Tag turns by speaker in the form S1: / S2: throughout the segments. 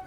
S1: All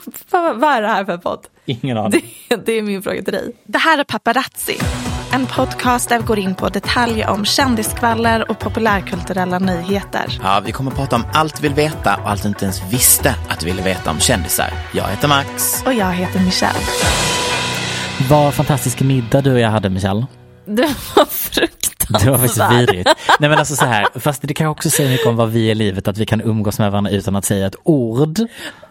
S2: Vad vad är det här för podd?
S3: Ingen aning.
S2: Det, det är min fråga till dig.
S4: Det här är Paparazzi, en podcast där vi går in på detaljer om kändiskvaller och populärkulturella nyheter.
S3: Ja, vi kommer prata om allt du vill veta och allt du inte ens visste att du ville veta om kändisar. Jag heter Max.
S4: Och jag heter Michelle.
S5: Vad fantastisk middag du och jag hade Michelle.
S2: Du var fruktansvärd.
S5: Det var faktiskt vidrigt. Nej men alltså så här, fast det kan också säga mycket om vad vi är i livet, att vi kan umgås med varandra utan att säga ett ord.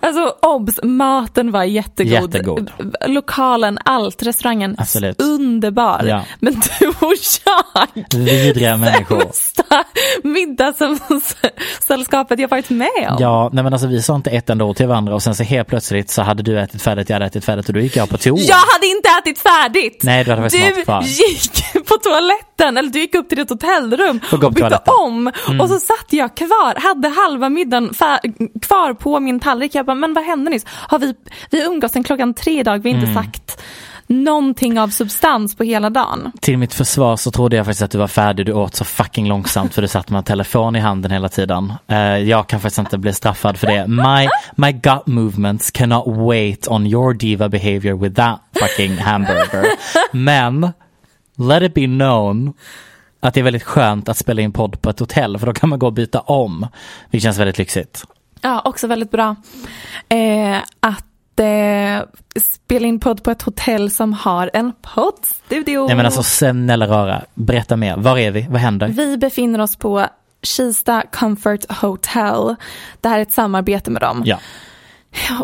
S2: Alltså obs, maten var jättegod.
S5: Jättegod.
S2: Lokalen, allt, restaurangen
S5: Absolut.
S2: underbar.
S5: Ja.
S2: Men du och jag,
S5: Vidriga människor.
S2: bästa middagssällskapet jag varit med om.
S5: Ja, nej men alltså vi sa inte ett enda ord till varandra och sen så helt plötsligt så hade du ätit färdigt, jag hade ätit färdigt och då gick jag på toa.
S2: Jag hade inte ätit färdigt.
S5: Nej, du hade faktiskt mat kvar.
S2: Du gick på toaletten, eller du gick upp till ditt hotellrum
S5: Och gå på
S2: bytte
S5: toaletten.
S2: om. Och så satt jag kvar, hade halva middagen fa- kvar på min tallrik. Jag bara, men vad hände nyss? Har vi,
S5: Mm.
S2: vi umgås sen klockan tre idag, vi har inte sagt någonting av substans på hela dagen.
S5: Till mitt försvar så trodde jag faktiskt att du var färdig, du åt så fucking långsamt för du satt med en telefon i handen hela tiden. Eh, jag kan faktiskt inte bli straffad för det. My, my gut movements cannot wait on your diva behavior with that fucking hamburger. Men, let it be known att det är väldigt skönt att spela in podd på ett hotell för då kan man gå och byta om. Vilket känns väldigt lyxigt.
S2: Ja, också väldigt bra. Eh, att eh, spela in podd på ett hotell som har en poddstudio.
S5: Nej men alltså snälla röra, berätta mer. Var är vi? Vad händer?
S2: Vi befinner oss på Kista Comfort Hotel. Det här är ett samarbete med dem.
S5: Ja,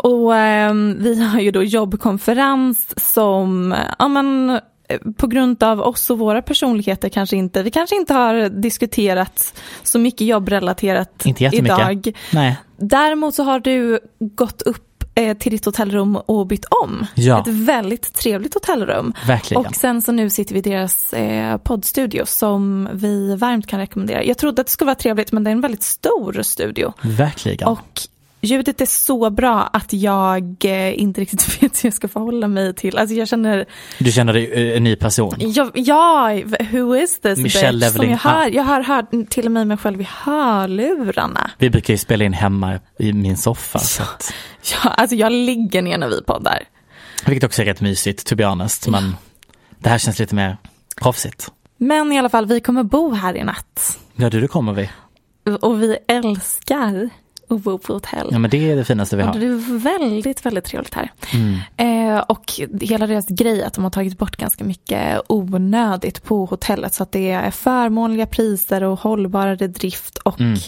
S2: Och ehm, vi har ju då jobbkonferens som, ja men eh, på grund av oss och våra personligheter kanske inte, vi kanske inte har diskuterat så mycket jobbrelaterat
S5: inte jättemycket.
S2: idag.
S5: Nej.
S2: Däremot så har du gått upp eh, till ditt hotellrum och bytt om.
S5: Ja.
S2: Ett väldigt trevligt hotellrum.
S5: Verkligen.
S2: Och sen så nu sitter vi i deras eh, poddstudio som vi varmt kan rekommendera. Jag trodde att det skulle vara trevligt men det är en väldigt stor studio.
S5: Verkligen.
S2: Och ljudet är så bra att jag eh, inte riktigt vet hur jag ska förhålla mig till. Alltså jag känner,
S5: Du känner dig eh, en ny person.
S2: jag, ja, who is this
S5: Michelle Ah.
S2: bitch? Som
S5: Leveling.
S2: jag, hör, jag har hört till och med mig själv i hörlurarna.
S5: Vi brukar ju spela in hemma i min soffa. Så att,
S2: Ja, alltså jag ligger ner när vi poddar.
S5: vilket också är rätt mysigt, to be honest. Men det här känns lite mer proffsigt.
S2: Men i alla fall, vi kommer bo här i natt.
S5: Ja, du, då kommer vi.
S2: Och vi älskar att bo på hotell.
S5: Ja, men det är det finaste vi
S2: Och det
S5: har. Mm.
S2: är väldigt, väldigt trevligt här. Eh, och hela deras grej att de har tagit bort ganska mycket onödigt på hotellet. Så att det är förmånliga priser och hållbarare drift. Och
S5: Mm.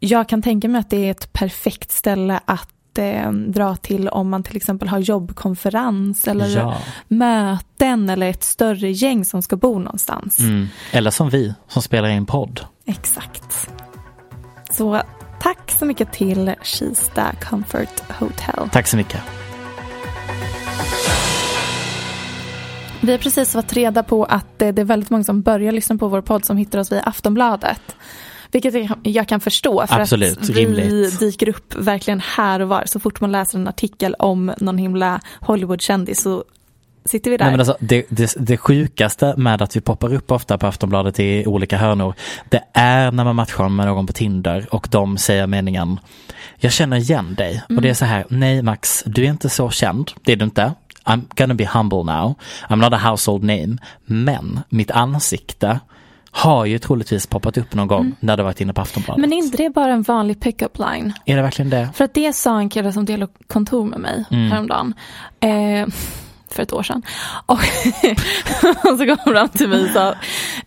S2: jag kan tänka mig att det är ett perfekt ställe att eh, dra till om man till exempel har jobbkonferens eller
S5: Ja.
S2: möten eller ett större gäng som ska bo någonstans.
S5: Mm. Eller som vi, som spelar in podd.
S2: Exakt. Så tack så mycket till Kista Comfort Hotel.
S5: Tack så mycket.
S2: Vi har precis fått reda på att eh, det är väldigt många som börjar lyssna på vår podd som hittar oss via Aftonbladet. Vilket jag- jag kan förstå för
S5: Absolut,
S2: att vi
S5: rimligt.
S2: dyker upp verkligen här och var. Så fort man läser en artikel om någon himla Hollywoodkändis så sitter vi där.
S5: Nej, men alltså, det, det, det sjukaste med att vi poppar upp ofta på Aftonbladet i olika hörnor, det är när man matchar med någon på Tinder och de säger meningen Jag känner igen dig och det är så här, nej Max, du är inte så känd, det är du inte. I'm gonna be humble now, I'm not a household name, men mitt ansikte har ju troligtvis poppat upp någon gång när du varit inne på Aftonbladet.
S2: Men är inte det bara en vanlig pick-up line?
S5: Är det verkligen det?
S2: För att det sa en kille som delade kontor med mig
S5: Mm.
S2: häromdagen. Eh, för ett år sedan. Och så kom han fram till mig och sa,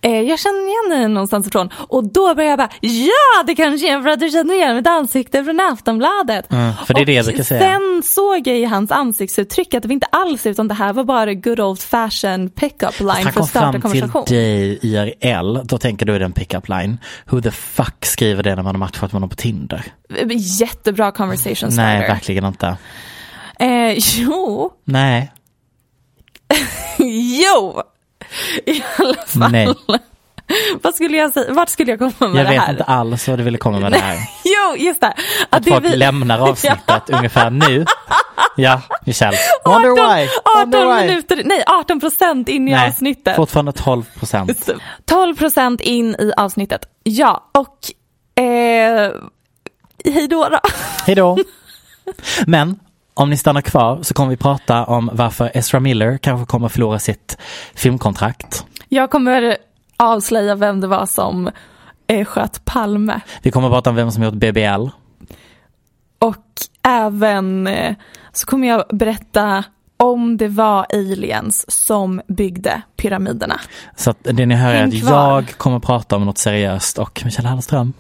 S2: eh, jag känner igen dig någonstans ifrån. Och då började jag bara, ja det kanske är för att du känner igen mitt ansikte från Aftonbladet.
S5: Mm, för det är det jag
S2: Och
S5: brukar säga.
S2: Sen såg jag i hans ansiktsuttryck att det var inte alls utan det här var bara good old fashioned pick-up line
S5: han
S2: för
S5: kom
S2: att starta
S5: fram till
S2: konversation.
S5: dig IRL, då tänker du är det en pickup line. Who the fuck skriver det när man har matchat med någon på Tinder?
S2: Jättebra conversation
S5: Nej,
S2: starter.
S5: verkligen inte.
S2: Eh, jo,
S5: Nej,
S2: jo. I alla fall.
S5: nej.
S2: Vad skulle jag säga? Vart skulle jag komma med
S5: Jag
S2: det
S5: vet
S2: här?
S5: inte alls vad du ville komma med det här.
S2: Jo, just det. Att,
S5: Att folk lämnar avsnittet ungefär nu. Ja, Michelle. Wonder
S2: 18,
S5: why?
S2: 18
S5: Wonder why?
S2: minuter, nej 18 procent in i avsnittet.
S5: fortfarande 12 procent.
S2: 12 procent in i avsnittet. Ja, och eh, hej då. då.
S5: Hej då. Men om ni stannar kvar så kommer vi prata om varför Ezra Miller kanske kommer förlora sitt filmkontrakt.
S2: Jag kommer avslöja vem det var som eh, sköt Palme
S5: Vi kommer prata om vem som gjort BBL.
S2: och även eh, så kommer jag berätta om det var aliens som byggde pyramiderna.
S5: Så att det ni hör är
S2: Häng
S5: att
S2: kvar.
S5: jag kommer prata om något seriöst och Michelle Hallström,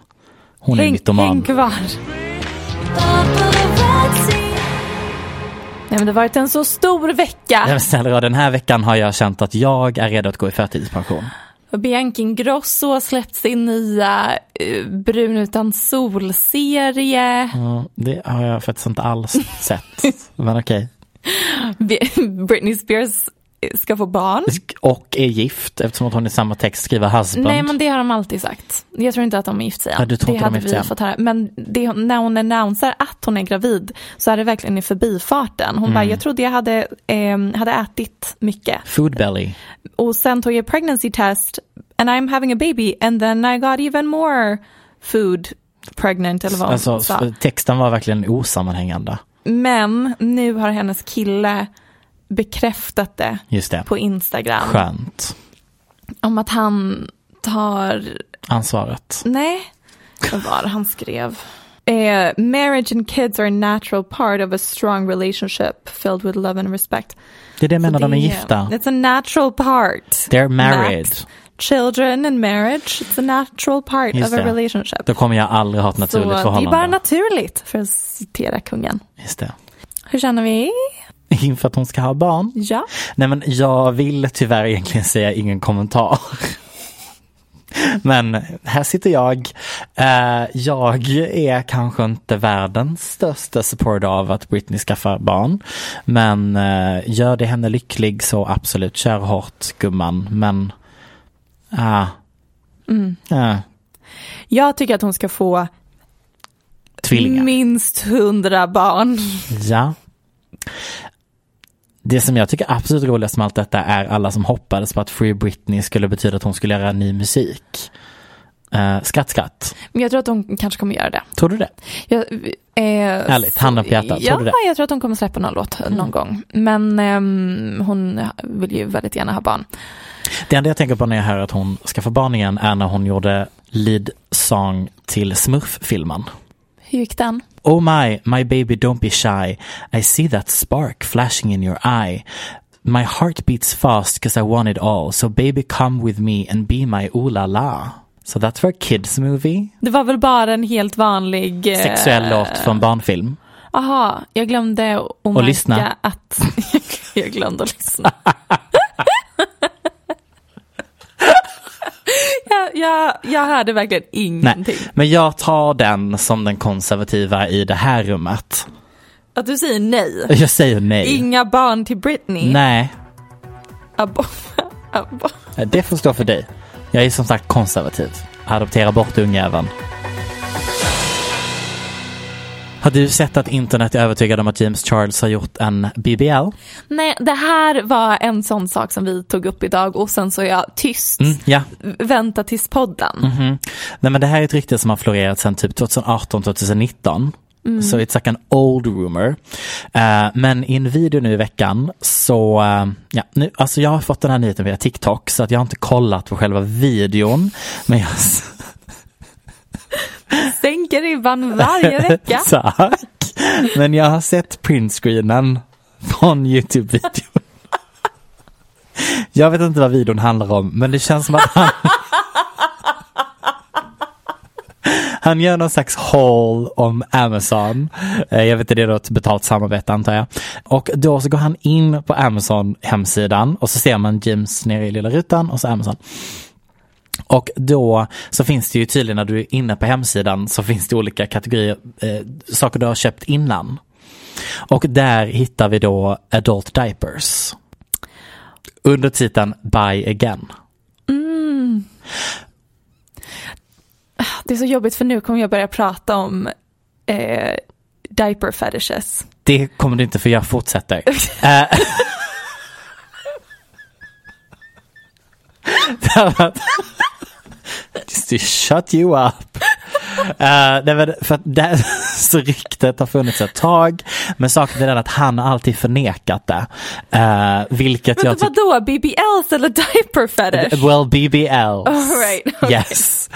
S5: hon är
S2: Häng, häng
S5: mytoman.
S2: kvar. Nej men det har varit en så stor vecka.
S5: Nej, men snälla rara, Den här veckan har jag känt att jag är redo att gå i förtidspension.
S2: Och Bianca Ingrosso har släppt sin nya eh, Brun utan sol-serie.
S5: Ja, Det har jag faktiskt inte alls sett. Men okej.
S2: Bi- Britney Spears eh, ska få barn.
S5: Och är gift eftersom att hon i samma text skriver husband.
S2: Nej men det har de alltid sagt. Jag tror inte att de är gift sig än.
S5: Ja, du tror
S2: det
S5: inte de är
S2: hade
S5: gift
S2: vi
S5: sig än.
S2: fått höra. Men det, när hon annonserar att hon är gravid så är det verkligen i förbifarten. Hon
S5: Mm.
S2: bara, jag trodde jag hade, ehm, hade ätit mycket.
S5: Food belly.
S2: Och sen tog jag pregnancy test and I'm having a baby and then I got even more food pregnant eller vad hon
S5: Alltså,
S2: sa.
S5: texten var verkligen osammanhängande.
S2: Men nu har hennes kille bekräftat det
S5: Just det.
S2: på Instagram
S5: Skönt.
S2: om att han tar,
S5: Ansvaret.
S2: nej, vad var det han skrev? Eh, marriage and kids are a natural part of a strong relationship filled with love and respect.
S5: Det är det jag menar,
S2: Så
S5: de är
S2: det
S5: gifta.
S2: It's a natural part.
S5: They're married.
S2: Max. Children and marriage, it's a natural part
S5: Just
S2: of a
S5: det.
S2: relationship.
S5: Då kommer jag aldrig ha ett
S2: Så
S5: naturligt
S2: det är
S5: förhållande.
S2: bara naturligt, för att citera kungen.
S5: Just det.
S2: Hur känner vi?
S5: Inför att hon ska ha barn.
S2: Ja.
S5: Nej men jag vill tyvärr egentligen säga ingen kommentar. Men här sitter jag. Eh, Jag är kanske inte världens största supporter av att Britney skaffar barn. Men eh, gör det henne lycklig så absolut, kör hårt gumman. Men, ah. Ah,
S2: Jag tycker att hon ska få
S5: tvillingar.
S2: minst hundra barn.
S5: Ja. Det som jag tycker är absolut roligast med allt detta är alla som hoppades på att Free Britney skulle betyda att hon skulle göra ny musik. Eh, skratt, skratt.
S2: Men jag tror att hon kanske kommer göra det.
S5: Tror du det?
S2: Jag, eh,
S5: Ärligt, handen på hjärtat, tror
S2: Ja,
S5: du det?
S2: jag tror att hon kommer släppa någon låt någon gång. Men ehm, hon vill ju väldigt gärna ha barn.
S5: Det enda jag tänker på när jag hör att hon ska få barn igen är när hon gjorde lead song till Smurf-filmen.
S2: Hur gick den?
S5: Oh my, my baby don't be shy. I see that spark flashing in your eye. My heart beats fast cause I want it all. So baby come with me and be my ooh la la. So that's for a kids movie.
S2: Det var väl bara en helt vanlig... eh,
S5: sexuell låt från barnfilm.
S2: Aha, jag glömde att märka
S5: lyssna.
S2: att... jag glömde att lyssna. jag, jag, jag hörde verkligen ingenting.
S5: Nej, men jag tar den som den konservativa i det här rummet.
S2: Att du säger nej.
S5: Jag säger nej.
S2: Inga barn till Britney.
S5: Nej,
S2: Abor- Abor-
S5: det får stå för dig. Jag är som sagt konservativ. adoptera bort ungjäveln. Har du sett att internet är övertygad om att James Charles har gjort en BBL?
S2: Nej, det här var en sån sak som vi tog upp idag och sen så är jag tyst.
S5: Mm, ja,
S2: Vänta tills podden.
S5: Nej men det här är ett rykte som har florerat sedan typ 2018-2019. Så it's like an old rumor. Eh, men i en video nu i veckan så, eh, ja, nu, alltså jag har fått den här nyheten via TikTok så att jag har inte kollat på själva videon. Men jag,
S2: Sänker ribban varje vecka.
S5: Tack. Men jag har sett printscreenen från YouTube-videon. Jag vet inte vad videon handlar om, men det känns som att han... Han gör någon slags haul om Amazon. Eh, Jag vet inte, det är då ett betalt samarbete antar jag. Och då så går han in på Amazon hemsidan och så ser man James nere i lilla rutan och så Amazon. Och då så finns det ju tydligen när du är inne på hemsidan så finns det olika kategorier, eh, saker du har köpt innan. Och där hittar vi då Adult Diapers. Under titeln Buy Again.
S2: Det är så jobbigt för nu kommer jag börja prata om eh, diaper fetishes.
S5: Det kommer du inte för jag fortsätter. Eh. Därför att- Just to shut you up. Eh, nej men för att det, så ryktet har funnits ett tag. Men saken är den att han har alltid förnekat det. Eh, vilket jag
S2: Vänta,
S5: tycker...
S2: vadå? BBLs eller diaper fetish?
S5: Eh, Well, BBL.
S2: All right, okej.
S5: Yes.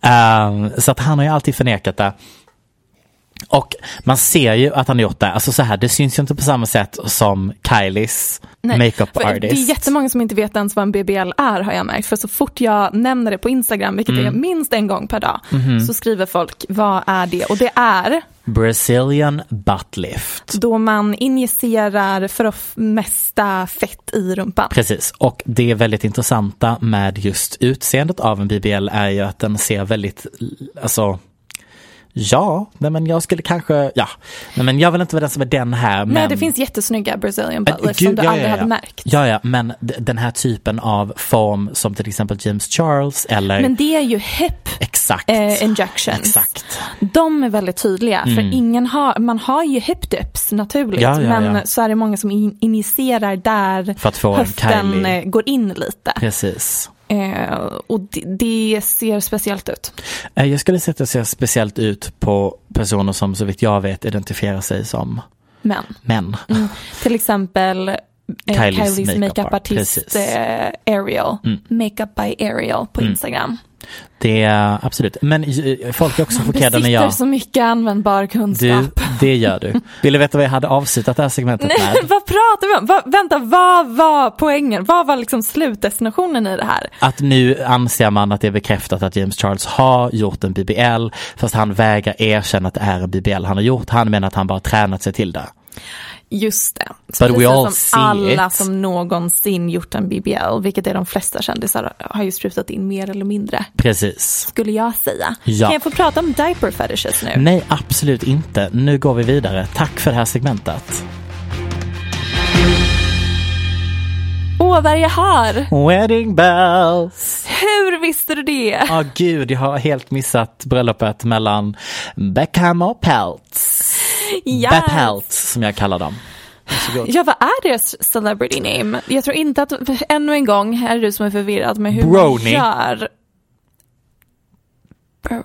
S5: Ehm, så att han har ju alltid förnekat det. Och man ser ju att han har gjort det. Alltså så här, det syns ju inte på samma sätt som Kylies makeup
S2: För Det är
S5: artist.
S2: jättemånga som inte vet ens vad en BBL är har jag märkt. För så fort jag nämner det på Instagram, vilket
S5: Mm.
S2: är minst en gång per dag,
S5: Mhm.
S2: så skriver folk vad är det? Och det är
S5: Brazilian butt lift.
S2: då man injicerar för att f- mästa fett i rumpan.
S5: Precis, och det väldigt intressanta med just utseendet av en BBL är ju att den ser väldigt, alltså Ja, nej men jag skulle kanske, ja, nej men jag vill inte vara den som är den här. Men...
S2: Nej, det finns jättesnygga Brazilian
S5: Men
S2: butt lifts
S5: Äh, Eh,
S2: som
S5: gud,
S2: du
S5: ja,
S2: aldrig
S5: ja, ja.
S2: hade märkt.
S5: Ja, ja, men d- den här typen av form som till exempel James Charles eller
S2: Men det är ju HEP
S5: exakt.
S2: eh, injections.
S5: Exakt.
S2: De är väldigt tydliga, för ingen har, man har ju hipdips naturligt,
S5: Mm. Ja, ja,
S2: men
S5: ja.
S2: så är det många som in, injicerar där
S5: För att få en
S2: höften
S5: Kylie.
S2: eh, går in lite.
S5: Precis.
S2: Eh, och det, det ser speciellt ut.
S5: Eh, Jag skulle säga att det ser speciellt ut på personer som så vitt jag vet identifierar sig som
S2: Men
S5: män.
S2: Mm. till exempel eh,
S5: Kylies
S2: Kylies,
S5: makeup-artist,
S2: makeup-artist eh, Ariel,
S5: Mm.
S2: makeup by Ariel på Instagram.
S5: Det är absolut, men eh, folk är också chockerade när
S2: Besitter
S5: jag...
S2: så mycket användbar
S5: Du,
S2: kunskap.
S5: det gör du. Vill du veta vad jag hade avslutat det här segmentet
S2: Nej,
S5: med?
S2: vad pratar vi om? Vad, vänta, vad var poängen? Vad var liksom slutdestinationen i det här?
S5: Att nu anser man att det är bekräftat att James Charles har gjort en BBL, fast han vägrar erkänna att det är en BBL han har gjort. Han menar att han bara tränat sig till det.
S2: Just det. Så
S5: But we
S2: precis
S5: all
S2: som
S5: see
S2: alla
S5: it.
S2: som någonsin gjort en BBL, vilket är de flesta kändisar, har ju sprutat in mer eller mindre,
S5: Precis.
S2: skulle jag säga.
S5: Ja.
S2: Kan jag få prata om diaper fetishes nu?
S5: Nej, absolut inte. Nu går vi vidare. Tack för det här segmentet.
S2: Åh, vad jag har!
S5: Wedding bells.
S2: Hur visste du det?
S5: Ja, gud, jag har helt missat bröllopet mellan Beckham och Peltz.
S2: Yes.
S5: Bepeltz, som jag kallar dem.
S2: Ja, vad är deras celebrity name? Jag tror inte att, ännu en gång, här är du som är förvirrad med hur
S5: Brony.
S2: man gör. Bro.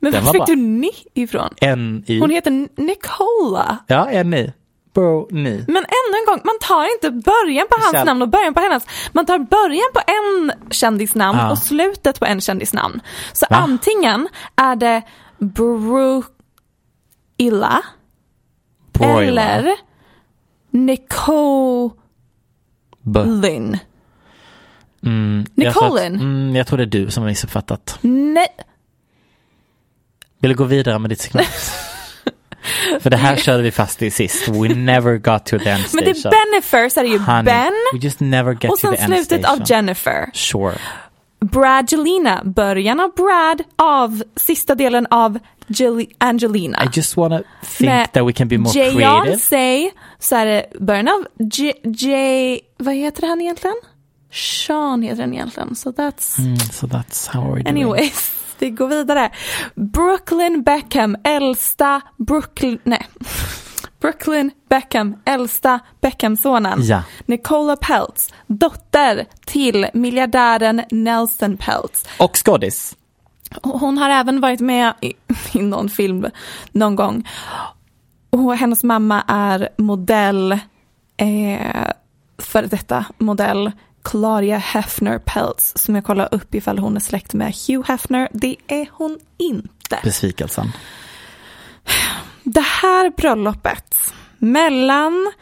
S2: Men
S5: Den
S2: var fick
S5: var bra.
S2: du ni ifrån?
S5: En i...
S2: Hon heter Nicola.
S5: Ja, en i. Bro, ni.
S2: Men ännu en gång, man tar inte början på hans
S5: Käll-
S2: namn och början på hennes. Man tar början på en kändisnamn
S5: Ja.
S2: och slutet på en kändisnamn. Så antingen är det Broilla
S5: Broiler.
S2: eller Nicolin.
S5: B- Jag tror att-
S2: Nicolin?
S5: Mm, jag tror det är du som har missuppfattat.
S2: Nej,
S5: Vill du gå vidare med ditt segment? För det här körde vi fast i sist. We never got to the end
S2: men det
S5: station.
S2: är Bennifer så är det ju
S5: Honey,
S2: Ben.
S5: We just never get
S2: Och
S5: to
S2: sen
S5: the end
S2: slutet
S5: station.
S2: av Jennifer.
S5: Sure.
S2: Bradgelina, början av Brad, av sista delen av Jeli- Angelina.
S5: I just wanna think
S2: Ah. Med
S5: that we can be more creative.
S2: eh, Beyoncé, så är det början av J, J, vad heter han egentligen? Sean heter den egentligen. Så that's
S5: Mm, so that's how we do
S2: Anyways, vi går vidare. Brooklyn Beckham, äldsta Brooklyn, nej. Brooklyn Beckham, äldsta Beckham-sonen.
S5: Ja.
S2: Nicola Peltz, dotter till miljardären Nelson Peltz.
S5: Och skådis.
S2: Hon har även varit med i, i någon film någon gång. Och hennes mamma är modell, eh, för detta modell, Claudia Hefner Peltz, som jag kollar upp ifall hon är släkt med Hugh Hefner. Det är hon inte.
S5: Besvikelsen.
S2: Det här bröllopet mellan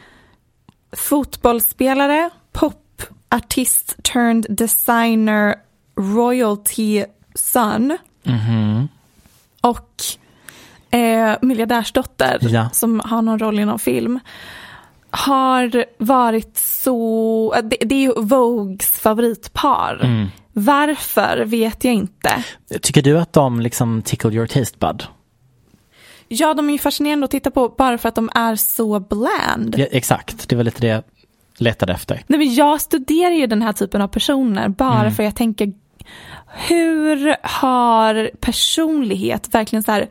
S2: fotbollsspelare, popartist turned designer, royalty son och eh, miljardärsdotter
S5: Ja.
S2: som har någon roll i någon film har varit så, det, det är ju Vogues favoritpar. Varför vet jag inte.
S5: Tycker du att de liksom tickle your taste bud?
S2: Ja, de är ju fascinerande att titta på bara för att de är så bland.
S5: Ja, exakt, det var lite det jag letade efter.
S2: Nej, men jag studerar ju den här typen av personer bara
S5: Mm.
S2: för jag tänker hur har personlighet verkligen så här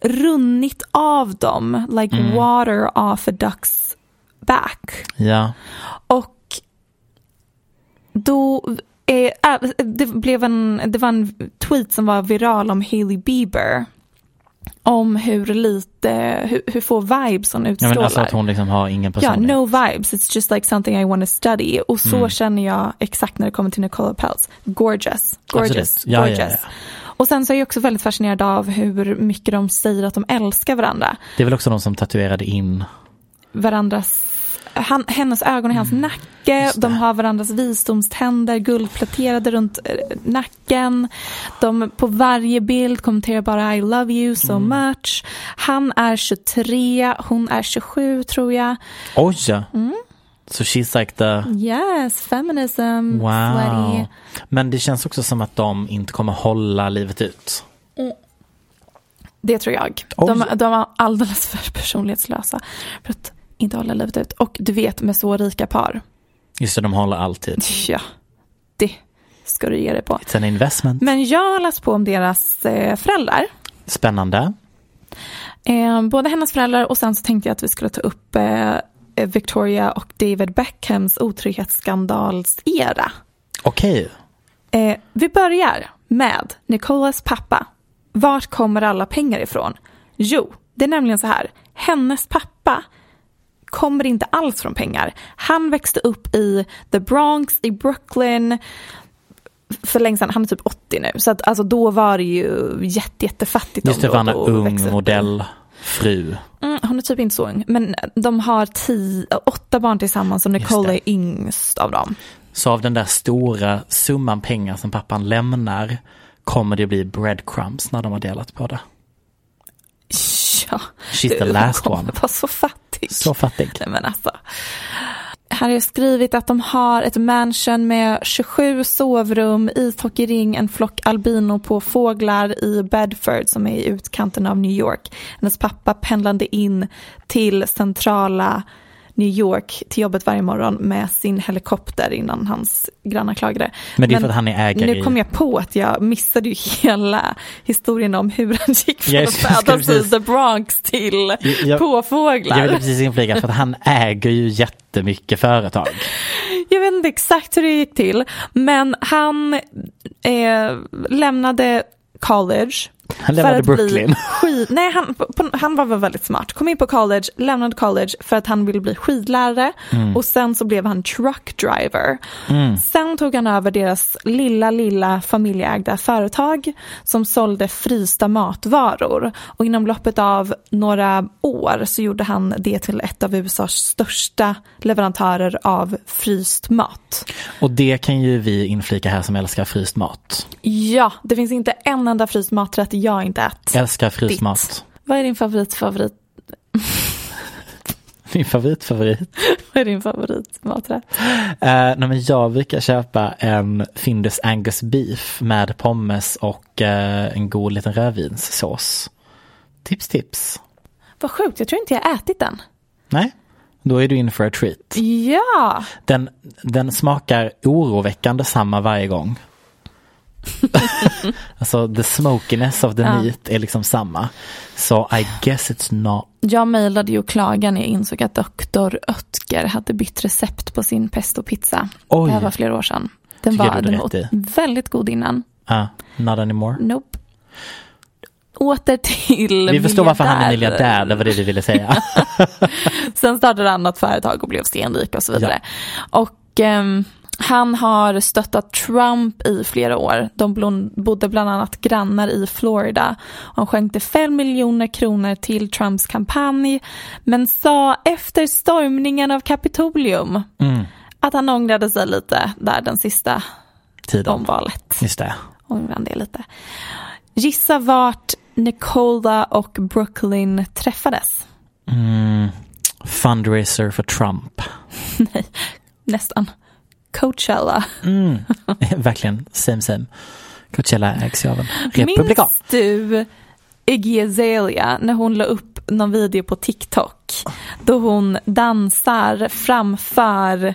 S2: runnit av dem like
S5: Mm.
S2: water off a ducks back.
S5: Ja.
S2: Och då eh, all- det, blev en, det var en tweet som var viral om Hailey Bieber. Om hur lite, hur, hur få vibes hon
S5: ja
S2: utstrålar.
S5: men alltså att hon liksom har ingen
S2: Ja,
S5: personlighet.
S2: no vibes, it's just like something I want to study. Och så
S5: Mm.
S2: känner jag exakt när det kommer till Nicola Peltz. Gorgeous, gorgeous,
S5: Absolut. Alltså Ja, ja,
S2: gorgeous.
S5: ja.
S2: Och sen så är jag också väldigt fascinerad av hur mycket de säger att de älskar varandra.
S5: Det är väl också de som tatuerade in.
S2: Varandras, han, hennes ögon i hans
S5: Mm.
S2: nacke, de har varandras visdomständer guldpläterade runt eh, nacken. De på varje bild kommenterar bara I love you so
S5: Mm.
S2: much. Han är 23, hon är 27 tror jag.
S5: Oj! So she's like the...
S2: Yes, feminism,
S5: Wow.
S2: Mm, sweaty.
S5: Men det känns också som att de inte kommer hålla livet ut.
S2: Det tror jag. De, de var alldeles för personlighetslösa för att inte hålla livet ut. Och du vet med så rika par,
S5: Just det, de håller alltid.
S2: ja, det ska du ge dig på.
S5: It's an investment.
S2: Men jag har läst på om deras eh, föräldrar.
S5: Spännande.
S2: Eh, både hennes föräldrar och sen så tänkte jag att vi skulle ta upp eh, Victoria och David Beckhams otrohetsskandalsera.
S5: Okej.
S2: Eh, vi börjar med Nicolas pappa. Vart kommer alla pengar ifrån? Jo, det är nämligen så här. Hennes pappa kommer inte alls från pengar. Han växte upp i the Bronx, i Brooklyn för länge sedan, han är typ 80 nu, så att, alltså, då var det ju jätte, jättefattigt
S5: Just det, för han
S2: område
S5: är
S2: att växa upp i.
S5: ung modellfru.
S2: Mm, hon är typ inte så ung, men de har tio, åtta barn tillsammans och Nicola
S5: det.
S2: är yngst av dem.
S5: Så av den där stora summan pengar som pappan lämnar kommer det bli breadcrumbs när de har delat på det.
S2: Ja,
S5: She's the
S2: hon
S5: last
S2: kommer
S5: one.
S2: vara så fattig.
S5: Så fattig.
S2: Nej men alltså. Här har jag skrivit att de har ett mansion med 27 sovrum, ishockeyring, en flock albino på fåglar i Bedford som är i utkanten av New York. Hennes pappa pendlade in till centrala New York till jobbet varje morgon med sin helikopter innan hans grannar klagade.
S5: Men det är för att han är ägare
S2: Nu
S5: i-
S2: kom jag på att jag missade ju hela historien om hur han gick från
S5: Jag
S2: att
S5: skulle
S2: födas i
S5: precis-
S2: The Bronx till
S5: jag-
S2: påfåglar.
S5: Jag ville precis inflika för att han äger ju jättemycket företag.
S2: Jag vet inte exakt hur det gick till, men han eh, lämnade college.
S5: Han lämnade
S2: för att bli
S5: Brooklyn.
S2: Skid, nej, han, på, på, han var väl väldigt smart. Kom in på college, lämnade college för att han ville bli skidlärare
S5: Mm.
S2: och sen så blev han truckdriver. Sen tog han över deras lilla, lilla familjeägda företag som sålde frysta matvaror och inom loppet av några år så gjorde han det till ett av USAs största leverantörer av fryst mat.
S5: Och det kan ju vi inflika här som älskar fryst mat.
S2: Ja, det finns inte en enda fryst maträtt jag inte ätit.
S5: Älskar fryst
S2: Ditt.
S5: mat.
S2: Vad är din favorit, favorit,
S5: Min favorit favorit.
S2: vad är din favorit maträtt?
S5: Eh, nej men jag brukar köpa en Findus Angus beef med pommes och eh, en god liten rödvinssås. Tips tips.
S2: Vad sjukt, jag tror inte jag ätit den.
S5: Nej? Då är du in for a treat.
S2: Ja,
S5: Den, den smakar oroväckande samma varje gång. alltså the smokiness of the meat är liksom samma. Så I guess it's not.
S2: jag mejlade ju klagan när jag insåg att doktor Ötker hade bytt recept på sin pesto-pizza.
S5: Oj.
S2: Det här var flera år sedan. Den
S5: Tycker
S2: var,
S5: du du
S2: den
S5: rätt i.
S2: var väldigt god innan.
S5: Uh, not anymore.
S2: Nope. Åter till
S5: Vi förstår varför han är miljardär, det var det du ville säga.
S2: Sen startade han ett företag och blev stenrik och så vidare. Och ehm, han har stöttat Trump i flera år. De blon- bodde bland annat grannar i Florida. Han skänkte 5 miljoner kronor till Trumps kampanj men sa efter stormningen av Kapitolium att han ångrade sig lite där den sista
S5: Tiden.
S2: omvalet
S5: Just det.
S2: ångrar det lite. Gissa vart Nicola och Brooklyn träffades?
S5: Fundraiser för Trump.
S2: Nästan. Coachella.
S5: Verkligen same same. Coachella ägs ju av en republikan.
S2: Minns du Iggy Azalea när hon la upp någon video på TikTok då hon dansar framför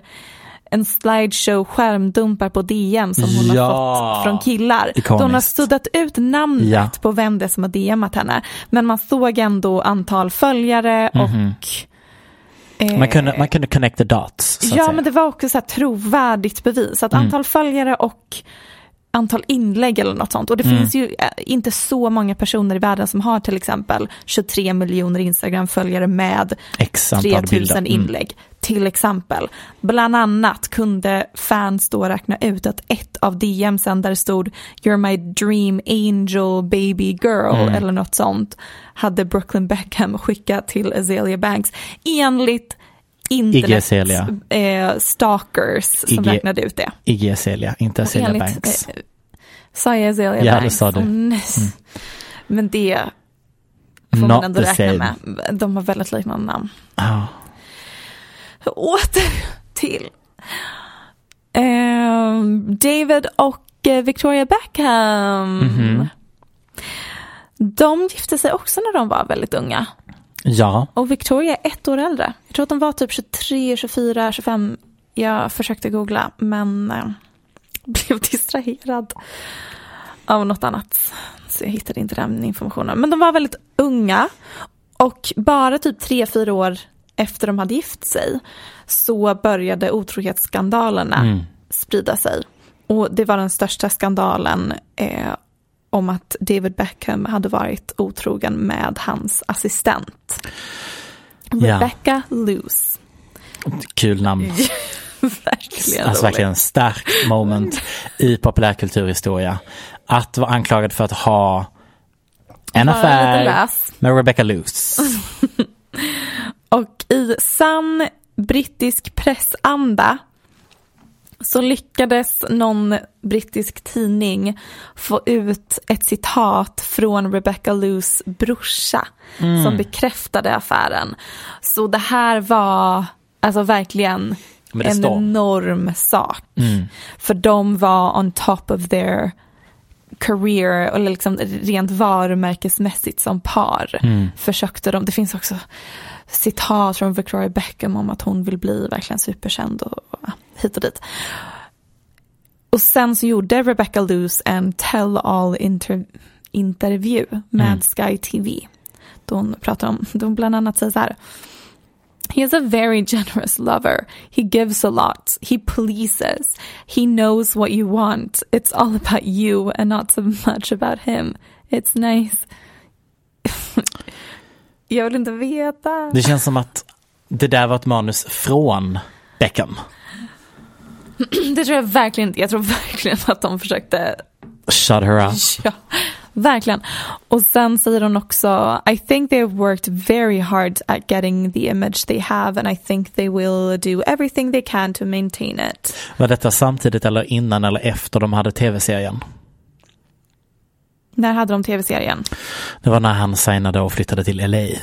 S2: en slideshow skärmdumpar på DM som hon
S5: Ja.
S2: har fått från killar.
S5: Ikoniskt.
S2: Då hon har suddat ut namnet
S5: Ja.
S2: på vem det är som har DMat henne. Men man såg ändå antal följare
S5: Mhm.
S2: och eh,
S5: Man kunde, man kunde connect the dots. Så
S2: Ja
S5: att säga. Mm.
S2: men det var också så här trovärdigt bevis. Att antal följare och antal inlägg eller något sånt. Och
S5: Mm.
S2: det finns ju eh, inte så många personer i världen som har till exempel 23 miljoner Instagram-följare med
S5: X antal bilder.
S2: 3000
S5: Mm.
S2: inlägg. Till exempel, bland annat kunde fans då räkna ut att ett av DMsen där det stod You're my dream angel baby girl
S5: Mm.
S2: eller något sånt hade Brooklyn Beckham skickat till Azalea Banks enligt
S5: Iggy
S2: internet
S5: Azalea.
S2: eh, stalkers som
S5: Iggy-
S2: räknade ut det.
S5: Iggy Azalea, inte
S2: Och
S5: Azalea
S2: enligt,
S5: Banks.
S2: eh, Sa jag Azalea
S5: Ja, det
S2: Banks?
S5: sa du. Mm.
S2: Åh, nej. Men det får
S5: Not
S2: man ändå
S5: the
S2: räkna
S5: same.
S2: med. De har väldigt liknande namn.
S5: Ja.
S2: Åter till ehm, David och eh, Victoria Beckham.
S5: Mhm.
S2: De gifte sig också när de var väldigt unga.
S5: ja,
S2: Och Victoria är ett år äldre. Jag tror att de var typ 23, 24, 25. Jag försökte googla men eh, blev distraherad av något annat. Så jag hittade inte den informationen. Men de var väldigt unga och bara typ 3-4 år efter de hade gift sig så började otrohetsskandalerna
S5: Mm.
S2: sprida sig. Och det var den största skandalen eh, om att David Beckham hade varit otrogen med hans assistent.
S5: Ja.
S2: Rebecca Luce.
S5: kul namn.
S2: verkligen
S5: Alltså
S2: roligt.
S5: verkligen en stark moment i populärkulturhistoria. Att vara anklagad för att ha en
S2: Vara lite
S5: affär
S2: lös.
S5: med Rebecca Luce.
S2: Och i sann brittisk pressanda så lyckades någon brittisk tidning få ut ett citat från Rebecca Luce brorsa
S5: Mm.
S2: som bekräftade affären. Så det här var alltså verkligen
S5: Men det
S2: en
S5: står. Mm.
S2: enorm sak. För de var on top of their career eller liksom rent varumärkesmässigt som par
S5: Mm.
S2: försökte de. Det finns också citat från Victoria Beckham om att hon vill bli verkligen superkänd och ja, hit och dit. Och sen så gjorde Rebecca Luce en tell all inter- intervju med Sky TV. Då hon pratar om, då hon bland annat säger så här. He is a very generous lover. He gives a lot. He pleases. He knows what you want. It's all about you and not so much about him. It's nice. Jag vill inte veta.
S5: Det känns som att det där var ett manus från Beckham.
S2: Det tror jag verkligen inte. Jag tror verkligen att de försökte
S5: Shut her up.
S2: Ja, verkligen. Och sen säger hon också I think they have worked very hard at getting the image they have and I think they will do everything they can to maintain it.
S5: Var detta samtidigt eller innan eller efter de hade tv-serien?
S2: När hade de tv-serien?
S5: Det var när han signade och flyttade till LA.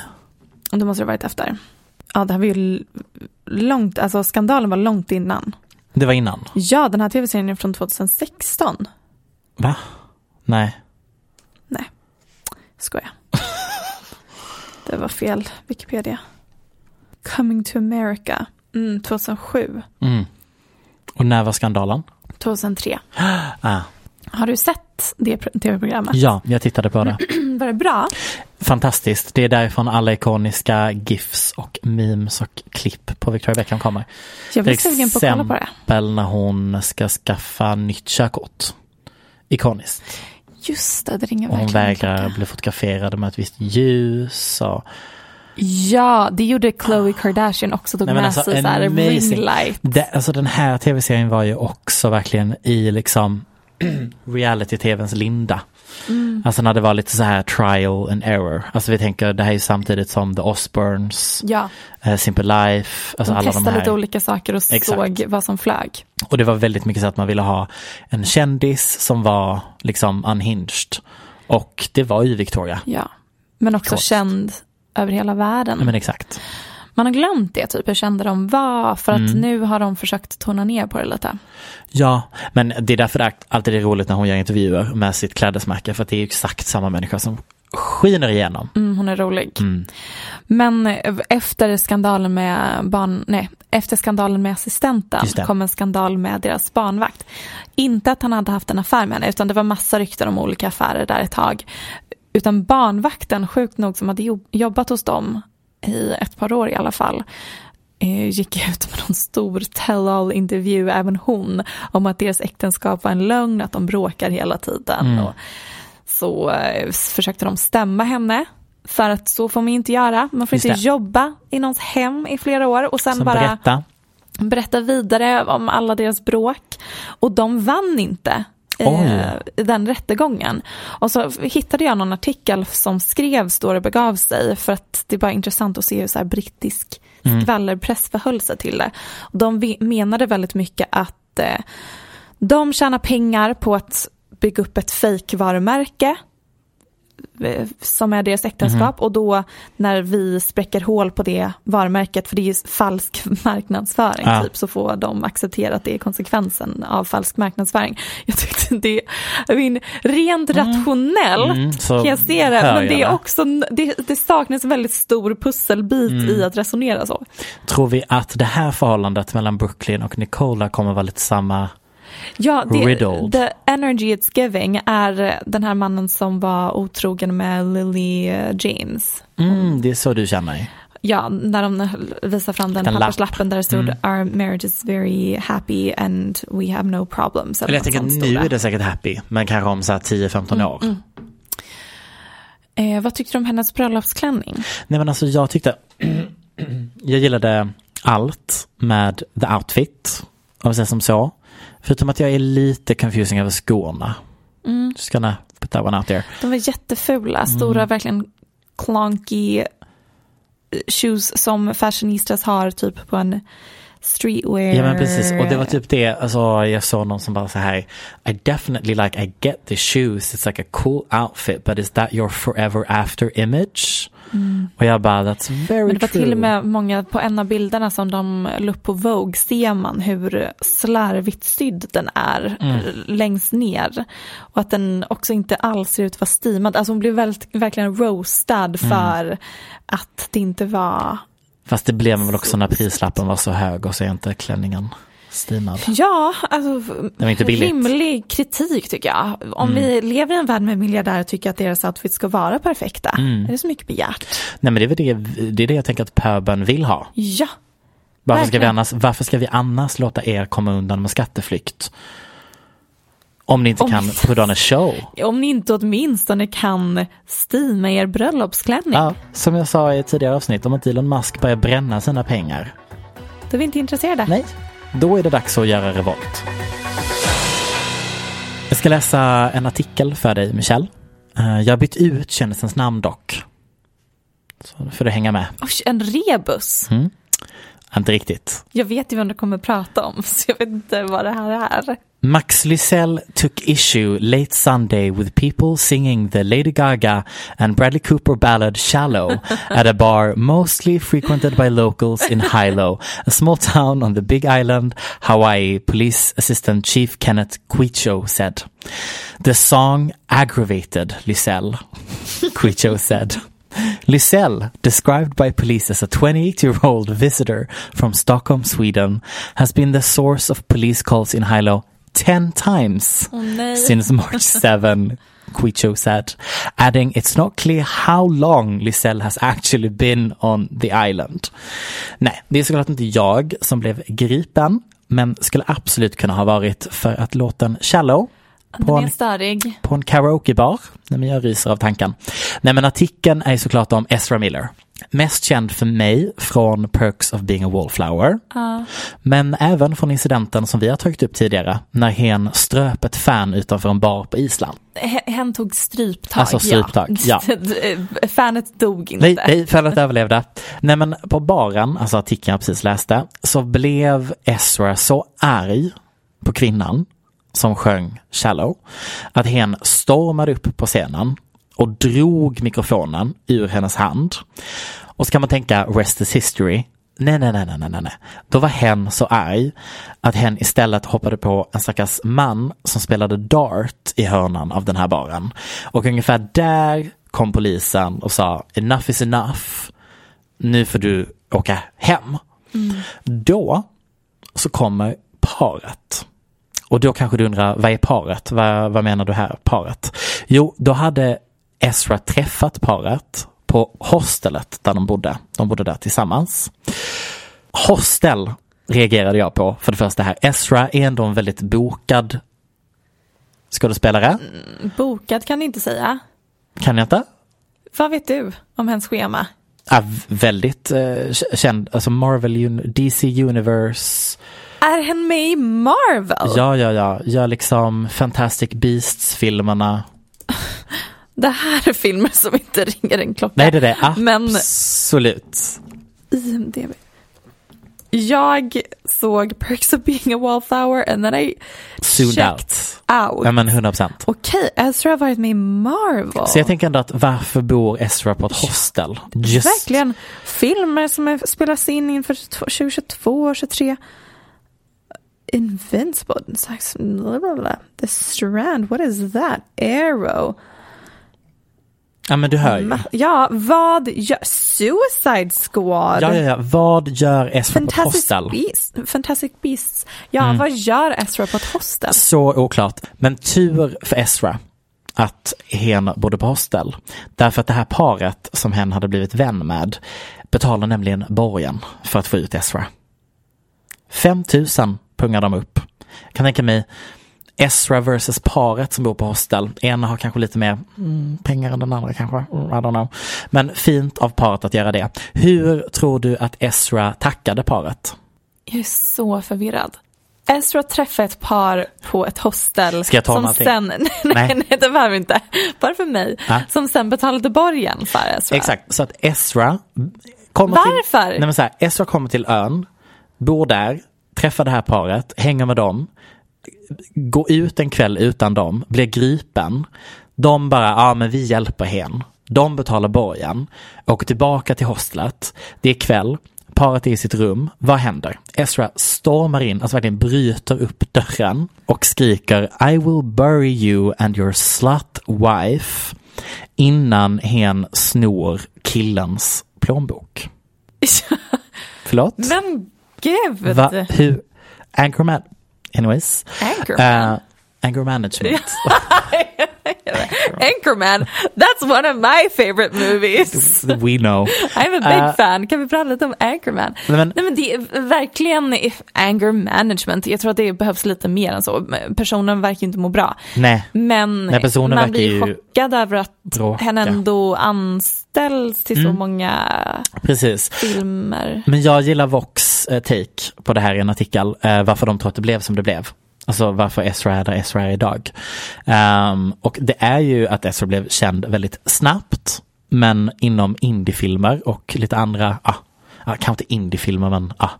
S2: Och Då måste det ha varit efter. Ja, det här var ju l- långt, alltså skandalen var långt innan.
S5: Det var innan.
S2: Ja, den här tv-serien är från 2016.
S5: Va? Nej.
S2: Nej, skoja. Det var fel Wikipedia. Coming to America mm, 2007,
S5: Mm. Och när var skandalen?
S2: 2003.
S5: Ah,
S2: Har du sett det pr- tv-programmet?
S5: ja, jag tittade på det.
S2: Var det bra?
S5: Fantastiskt. Det är därifrån alla ikoniska GIFs och memes och klipp på Victoria Beckham kommer.
S2: Jag blir sugen på att kolla på det.
S5: exempel när hon ska skaffa nytt körkort. Ikoniskt.
S2: Just det, det ringer
S5: Och hon
S2: verkligen en
S5: vägrar
S2: klocka.
S5: bli fotograferad med ett visst ljus. Och...
S2: Ja, det gjorde Khloe Kardashian också. Tog
S5: Ah. Nej, men
S2: med
S5: alltså,
S2: sig så här
S5: amazing.
S2: ring light.
S5: Det, alltså den här tv-serien var ju också verkligen i liksom reality-tvns linda.
S2: Mm.
S5: Alltså när det var lite så här trial and error. Alltså vi tänker det här är ju samtidigt som The Osbournes,
S2: Ja,
S5: eh, Simple Life, alltså
S2: de
S5: alla de
S2: testade
S5: här.
S2: lite olika saker och
S5: Exakt.
S2: såg vad som flög.
S5: Och det var väldigt mycket så att man ville ha en kändis som var liksom unhinged. Och det var ju Victoria.
S2: Ja, men också
S5: Konst.
S2: känd över hela världen.
S5: Ja, men exakt.
S2: Man har glömt det, typ hur kända de var, för att
S5: Mm.
S2: nu har de försökt tona ner på det lite.
S5: Ja, men det är därför det är alltid är roligt när hon gör intervjuer med sitt klädesmärke för att det är ju exakt samma människa som skiner igenom.
S2: Mm, hon är rolig. Men eh, efter skandalen med barn, nej, efter skandalen med assistenten
S5: Just det.
S2: kom en skandal med deras barnvakt. Inte att han hade haft en affär med henne, utan det var massa rykten om olika affärer där ett tag. Utan barnvakten, sjukt nog, som hade jo- jobbat hos dem i ett par år i alla fall, eh, gick ut med någon stor tell-all intervju, även hon, om att deras äktenskap var en lögn, att de bråkar hela tiden.
S5: Mm.
S2: Och så eh, s- försökte de stämma henne för att så får man ju inte göra. Man får
S5: Just
S2: inte
S5: det.
S2: jobba i någons hem i flera år och sen
S5: Som
S2: bara
S5: berätta.
S2: berätta vidare om alla deras bråk. Och de vann inte eh,
S5: Oj.
S2: i den rättegången. Och så hittade jag någon artikel som skrevs då det begav sig för att det är bara intressant att se hur så här brittisk
S5: Mm.
S2: skvallerpress förhöll sig till det. Och De vi- menade väldigt mycket att eh, de tjänar pengar på att bygga upp ett fejkvarumärke eh, som är deras äktenskap
S5: Mhm.
S2: och då när vi spräcker hål på det varumärket för det är ju falsk marknadsföring
S5: Ja.
S2: typ så får de acceptera att det är konsekvensen av falsk marknadsföring. Jag tyckte det, I mean, rent rationellt
S5: Mm, så
S2: kan jag se det
S5: hör
S2: men
S5: jag
S2: det
S5: det.
S2: är också, det, det saknas en väldigt stor pusselbit
S5: Mm.
S2: i att resonera så.
S5: Tror vi att det här förhållandet mellan Brooklyn och Nicola kommer vara lite samma?
S2: Ja, det,
S5: Riddled.
S2: the energy it's giving är eh, den här mannen som var otrogen med Lily eh, James.
S5: Mm, det är så du känner?
S2: Ja, när de visar fram den
S5: En lapp. Mm.
S2: papperslappen där det stod Our marriage is very happy and we have no problems.
S5: Eller jag
S2: något
S5: tänker att
S2: sånt
S5: nu
S2: stod
S5: är det Mm, säkert happy, men kanske om så här 10-15 år.
S2: Eh, vad tyckte du om hennes bröllopsklänning?
S5: Nej men alltså jag tyckte, jag gillade allt med the outfit, om vi säger som så. Förutom att jag är lite confusing över skorna. Mm. Just gonna put that one out there.
S2: De var
S5: Mm.
S2: jättefula, stora, verkligen clunky eh, shoes som fashionistas har typ på en streetwear.
S5: Ja men precis, och det
S2: Eh.
S5: var typ det, alltså jag såg någon som bara så här, I definitely like, I get the shoes, it's like a cool outfit, but is that your forever after image? Och jag bara, that's very
S2: Mm. Men det var
S5: true.
S2: till och med många, på en av bilderna som de la upp på Vogue ser man hur slarvigt sydd den är
S5: Mm.
S2: eh, längst ner. Och att den också inte alls ser ut att vara steamad. Alltså hon blev väldigt, verkligen
S5: Mm.
S2: roastad för att det inte var
S5: Fast det blev man väl också när prislappen var så hög och så är inte klänningen steamad.
S2: Ja, alltså
S5: var inte billigt. Mm.
S2: rimlig kritik tycker jag. Om vi lever i en värld med miljardärer och tycker att deras outfits ska vara perfekta,
S5: Mm.
S2: är det så mycket begärt?
S5: Nej men det är väl det, det, är det jag tänker att pöben vill ha.
S2: Ja,
S5: Varför ska, vi
S2: Verkligen.
S5: annars, varför ska vi annars låta er komma undan med skatteflykt? Om ni inte
S2: Om-
S5: kan put on a show.
S2: om ni inte åtminstone kan steama er bröllopsklänning,
S5: Ja, som jag sa i ett tidigare avsnitt, om inte Elon Musk börjar bränna sina pengar,
S2: då är vi inte intresserade.
S5: nej, då är det dags att göra revolt. Jag ska läsa en artikel för dig, Michelle. Eh, Jag har bytt ut kändisens namn dock. Så nu får du hänga med.
S2: Oj, en rebus.
S5: Mm. Inte riktigt.
S2: Jag vet ju vem du kommer prata om, så jag vet inte vad det här är.
S5: Max Lysell took issue late Sunday with people singing the Lady Gaga and Bradley Cooper ballad Shallow at a bar mostly frequented by locals in Hilo, a small town on the Big Island, Hawaii, Police Assistant Chief Kenneth Quicho said. The song aggravated Lysell, Quicho said. Lisell, described by police as a 28-year-old visitor from Stockholm, Sweden, has been the source of police calls in Hilo 10 times since March 7, Quicho said, adding, it's not clear how long Lisell has actually been on the island. Nej, det är såklart inte jag som blev gripen, men skulle absolut kunna ha varit för att låten Shallow på
S2: Den är
S5: en,
S2: störig.
S5: på en karaokebar. Nej, men jag ryser av tanken. Nej, men artikeln är ju såklart om Ezra Miller. Mest känd för mig från Perks of being a wallflower. Men även från incidenten som vi har tagit upp tidigare när hen ströp ett fan utanför en bar på Island.
S2: H- Hen tog stryptag. Eh,
S5: Alltså, stryptag, ja.
S2: Fanet dog inte.
S5: Nej, nej fallet överlevde. Nej men på baren, alltså artikeln jag precis läste, så blev Ezra så arg på kvinnan som sjöng Shallow att hen stormade upp på scenen och drog mikrofonen ur hennes hand. Och så kan man tänka rest is history. Nej, nej, nej, nej, nej, nej, nej. Då var hen så arg att hen istället hoppade på en stackars man som spelade dart i hörnan av den här baren. Och ungefär där kom polisen och sa enough is enough. Nu får du åka hem. Då så kommer paret. Och då kanske du undrar, vad är paret? Vad, vad menar du här, paret? Jo, då hade Ezra träffat paret på hostelet där de bodde. De bodde där tillsammans. Hostel reagerade jag på för det första här. Ezra är ändå en väldigt bokad skådespelare.
S2: Bokad kan du inte säga.
S5: Kan jag inte?
S2: Vad vet du om hennes schema?
S5: Ja, väldigt eh, k- känd, alltså Marvel, Un- DC Universe.
S2: Är hen med i Marvel?
S5: Ja, ja, ja, gör liksom Fantastic Beasts-filmerna.
S2: Det här är filmer som inte ringer en klocka.
S5: Nej, det är det,
S2: Men-
S5: absolut.
S2: IMDB. Jag såg Perks of being a wallflower and then I
S5: Soon
S2: checked
S5: out.
S2: out.
S5: Ja, men 100 procent.
S2: Okej, Ezra har varit med i Marvel.
S5: Så jag tänker ändå att varför bor Ezra på ett hostel? Just,
S2: Verkligen. Filmer som är- spelas in inför 2022, 23. Invincible, en slags- blah, blah, blah. The Strand, what is that? Arrow.
S5: Ja, men du hör ju.
S2: Ma- Ja, vad gör... Suicide Squad.
S5: Ja, ja, ja. Vad gör Ezra på ett
S2: Fantastic,
S5: hostel? Mm.
S2: Beasts. Fantastic Beasts. Ja, vad gör Ezra på ett hostel?
S5: Så oklart. Men tur för Ezra att hen bodde på hostel. Därför att det här paret som hen hade blivit vän med betalar nämligen borgen för att få ut Ezra. 5000 pungar de upp. Jag kan tänka mig Ezra versus paret som bor på hostel. Ena har kanske lite mer mm, pengar än den andra kanske. Mm, I don't know. Men fint av paret att göra det. Hur tror du att Ezra tackade paret?
S2: Jag är så förvirrad. Ezra träffade ett par på ett hostel.
S5: Ska jag ta
S2: som
S5: någonting?
S2: sen, nej,
S5: Nej.
S2: nej. det behöver vi inte. Bara för mig.
S5: Ja.
S2: Som sen betalade borgen för Ezra.
S5: Exakt, så att Ezra kommer
S2: Varför?
S5: till... Nej men så här, Ezra kommer till ön, bor där, träffar det här paret, hänger med dem, går ut en kväll utan dem, blir gripen. De bara, ja ah, men vi hjälper hen. De betalar borgen, åker tillbaka till hostlet, det är kväll, paret är i sitt rum, vad händer? Ezra stormar in, alltså verkligen bryter upp dörren och skriker I will bury you and your slut wife innan hen snor killens plånbok. Förlåt?
S2: Men gud.
S5: Va? Hur? Anchorman? Anyways.
S2: Anchorman.
S5: Eh, anger management.
S2: Anchorman, that's one of my favorite movies.
S5: We know. Eh,
S2: I'm a big fan. Kan vi prata lite om Anchorman?
S5: Nej, men-
S2: Nej men det är verkligen anger management. Jag tror att det behövs lite mer än så. Personen verkar ju inte må bra.
S5: Nej.
S2: Men
S5: Nej, personen
S2: man
S5: verkar
S2: blir
S5: ju
S2: chockad över att
S5: bråka. Mm.
S2: hen ändå anställs till så många
S5: Precis.
S2: filmer.
S5: Men jag gillar Vox eh, take på det här i en artikel, eh, varför de tror att det blev som det blev. Alltså varför Ezra är där Ezra är idag. Ehm, och det är ju att Ezra blev känd väldigt snabbt, men inom indiefilmer och lite andra, ah, ah, kanske inte indiefilmer men ah,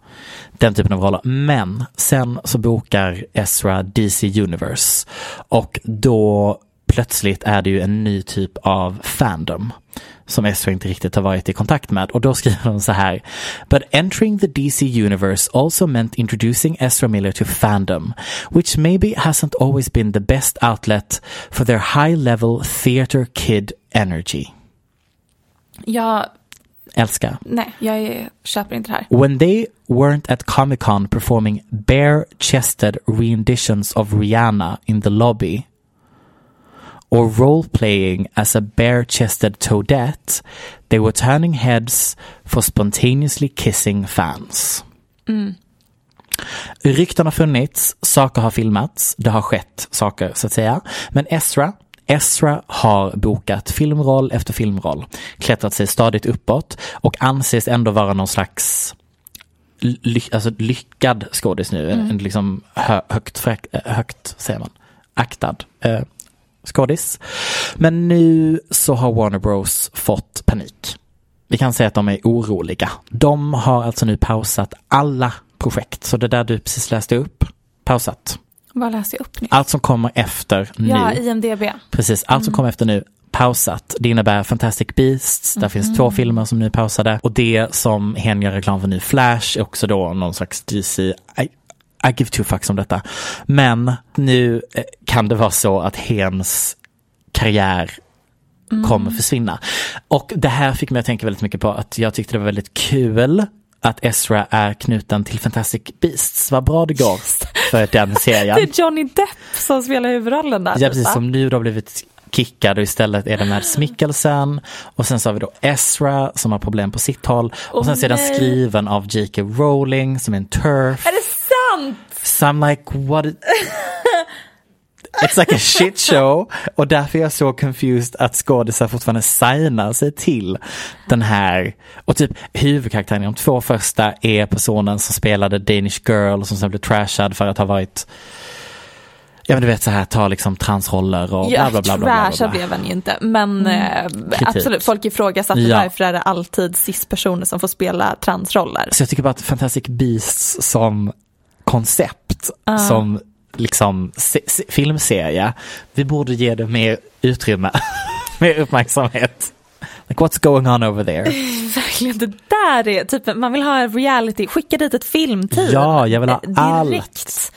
S5: den typen av roller. Men sen så bokar Ezra DC Universe och då plötsligt är det ju en ny typ av fandom som Ezra inte riktigt har varit i kontakt med. Och då skriver de så här. But entering the DC universe also meant introducing Ezra Miller to fandom, which maybe hasn't always been the best outlet for their high level theater kid energy.
S2: Jag,
S5: Älskar.
S2: nej, jag är, köper inte det här.
S5: When they weren't at Comic Con performing bare chested renditions of Rihanna in the lobby, or role playing as a bare chested toadette, they were turning heads for spontaneously kissing fans. Mm. Rykten har funnits, saker har filmats, det har skett saker så att säga. Men Ezra, Ezra har bokat filmroll efter filmroll, klättrat sig stadigt uppåt och anses ändå vara någon slags ly- alltså lyckad skådis nu. En, en liksom hö, högt, fräk, eh, högt, säger man, aktad eh, skådis. Men nu så har Warner Bros fått panik. Vi kan säga att de är oroliga. De har alltså nu pausat alla projekt. Så det där du precis läste upp, pausat.
S2: Vad läser jag upp nu?
S5: Allt som kommer efter Ah, nu.
S2: Ja, IMDB.
S5: Precis, allt
S2: Mm.
S5: som kommer efter nu pausat. Det innebär Fantastic Beasts, där
S2: Mm.
S5: finns två filmer som nu är pausade. Och det som hen gör reklam för nu, Flash, är också då någon slags DC. I, I give two fucks om detta. Men nu eh, kan det vara så att hens karriär
S2: Mm.
S5: kommer försvinna. Och det här fick mig att tänka väldigt mycket på att jag tyckte det var väldigt kul att Ezra är knuten till Fantastic Beasts. Vad bra det går för den serien.
S2: Det är Johnny Depp som spelar huvudrollen där.
S5: Ja,
S2: typ, va?
S5: precis. Som nu då har blivit kickad och istället är det Mads Mikkelsen. Och sen så har vi då Ezra som har problem på sitt håll. Och sen så är den
S2: nej.
S5: skriven av J.K. Rowling som är en turf.
S2: Är det sant?
S5: So I'm like, what? i- It's like a shit show. Och därför är jag så confused att skådisar fortfarande signar sig till den här. Och typ huvudkaraktären i de två första är personen som spelade Danish Girl som sen blev trashad för att ha varit Ja men du vet så här, ta liksom transroller och bla bla bla. bla, bla, bla,
S2: trashar
S5: bla.
S2: blev han ju inte. Men eh, absolut, folk ifrågasatte
S5: Ja.
S2: varför är det alltid cis-personer som får spela transroller.
S5: Så jag tycker bara att Fantastic Beasts som koncept,
S2: Ah.
S5: som liksom se- se- filmserie, vi borde ge det mer utrymme, mer uppmärksamhet. Like what's going on over there?
S2: Verkligen, det där är typ, man vill ha en reality, skicka dit ett filmteam.
S5: Ja, jag vill ha Mm.
S2: Eh, Direkt.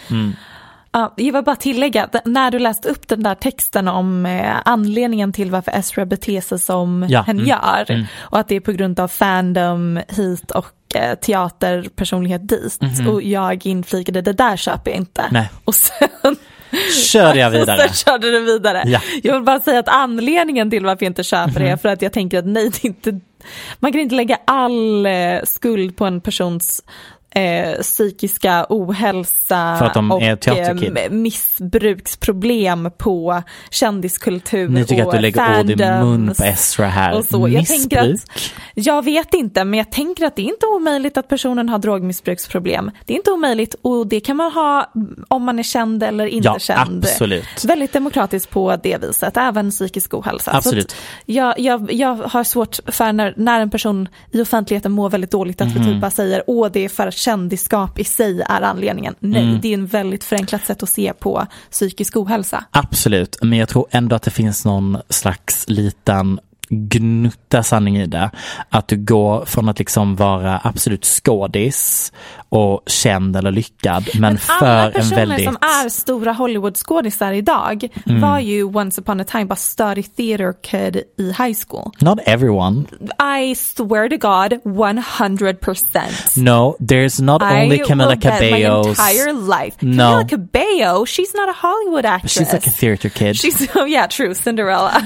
S2: Ja, jag vill bara tillägga, att när du läste upp den där texten om eh, anledningen till varför Ezra beter sig som
S5: Ja,
S2: hen
S5: mm,
S2: gör och att det är på grund av fandom hit och eh, teaterpersonlighet dit och jag inflikade det där köper jag inte.
S5: Mhm. Nej.
S2: Och sen Alltså,
S5: Kör jag vidare.
S2: Sen körde du vidare.
S5: Ja. Mhm.
S2: Jag vill bara säga att anledningen till varför jag inte köper det är för att jag tänker att nej, det är inte, man kan inte lägga all eh, skuld på en persons eh, psykiska ohälsa
S5: För att de
S2: och
S5: är teaterkid.
S2: eh, missbruksproblem på kändiskultur
S5: Nu tycker jag
S2: och
S5: att du lägger ord i mun
S2: fandoms
S5: på Ezra här.
S2: och så. Jag, tänker
S5: Missbruk.
S2: att, jag vet inte, men jag tänker att det är inte omöjligt att personen har drogmissbruksproblem. Det är inte omöjligt och det kan man ha mm, om man är känd eller inte
S5: Ja,
S2: känd.
S5: absolut.
S2: Väldigt demokratiskt på det viset, även psykisk ohälsa. Så
S5: Absolut.
S2: att Jag, jag, jag har svårt för när, när en person i offentligheten mår väldigt dåligt att
S5: Mhm.
S2: vi typ bara säger åh det är för att kändisskap i sig är anledningen. Nej,
S5: Mm.
S2: det är en väldigt förenklat sätt att se på psykisk ohälsa.
S5: Absolut, men jag tror ändå att det finns någon slags liten gnutta sanning i det. Att du går från att liksom vara absolut skådis och känd eller lyckad, men,
S2: Alla
S5: för en
S2: personer
S5: väldigt... Mm.
S2: som är stora Hollywoodskådisar idag var ju once upon a time bara sturdy theater kid i high school.
S5: Not everyone.
S2: I swear to God 100%.
S5: No, there's not only
S2: I will
S5: Camilla
S2: bet my
S5: Cabello's...
S2: entire life.
S5: No.
S2: Camila Cabello, she's not a Hollywood actress.
S5: She's like a theater kid.
S2: She's, oh yeah, true, Cinderella.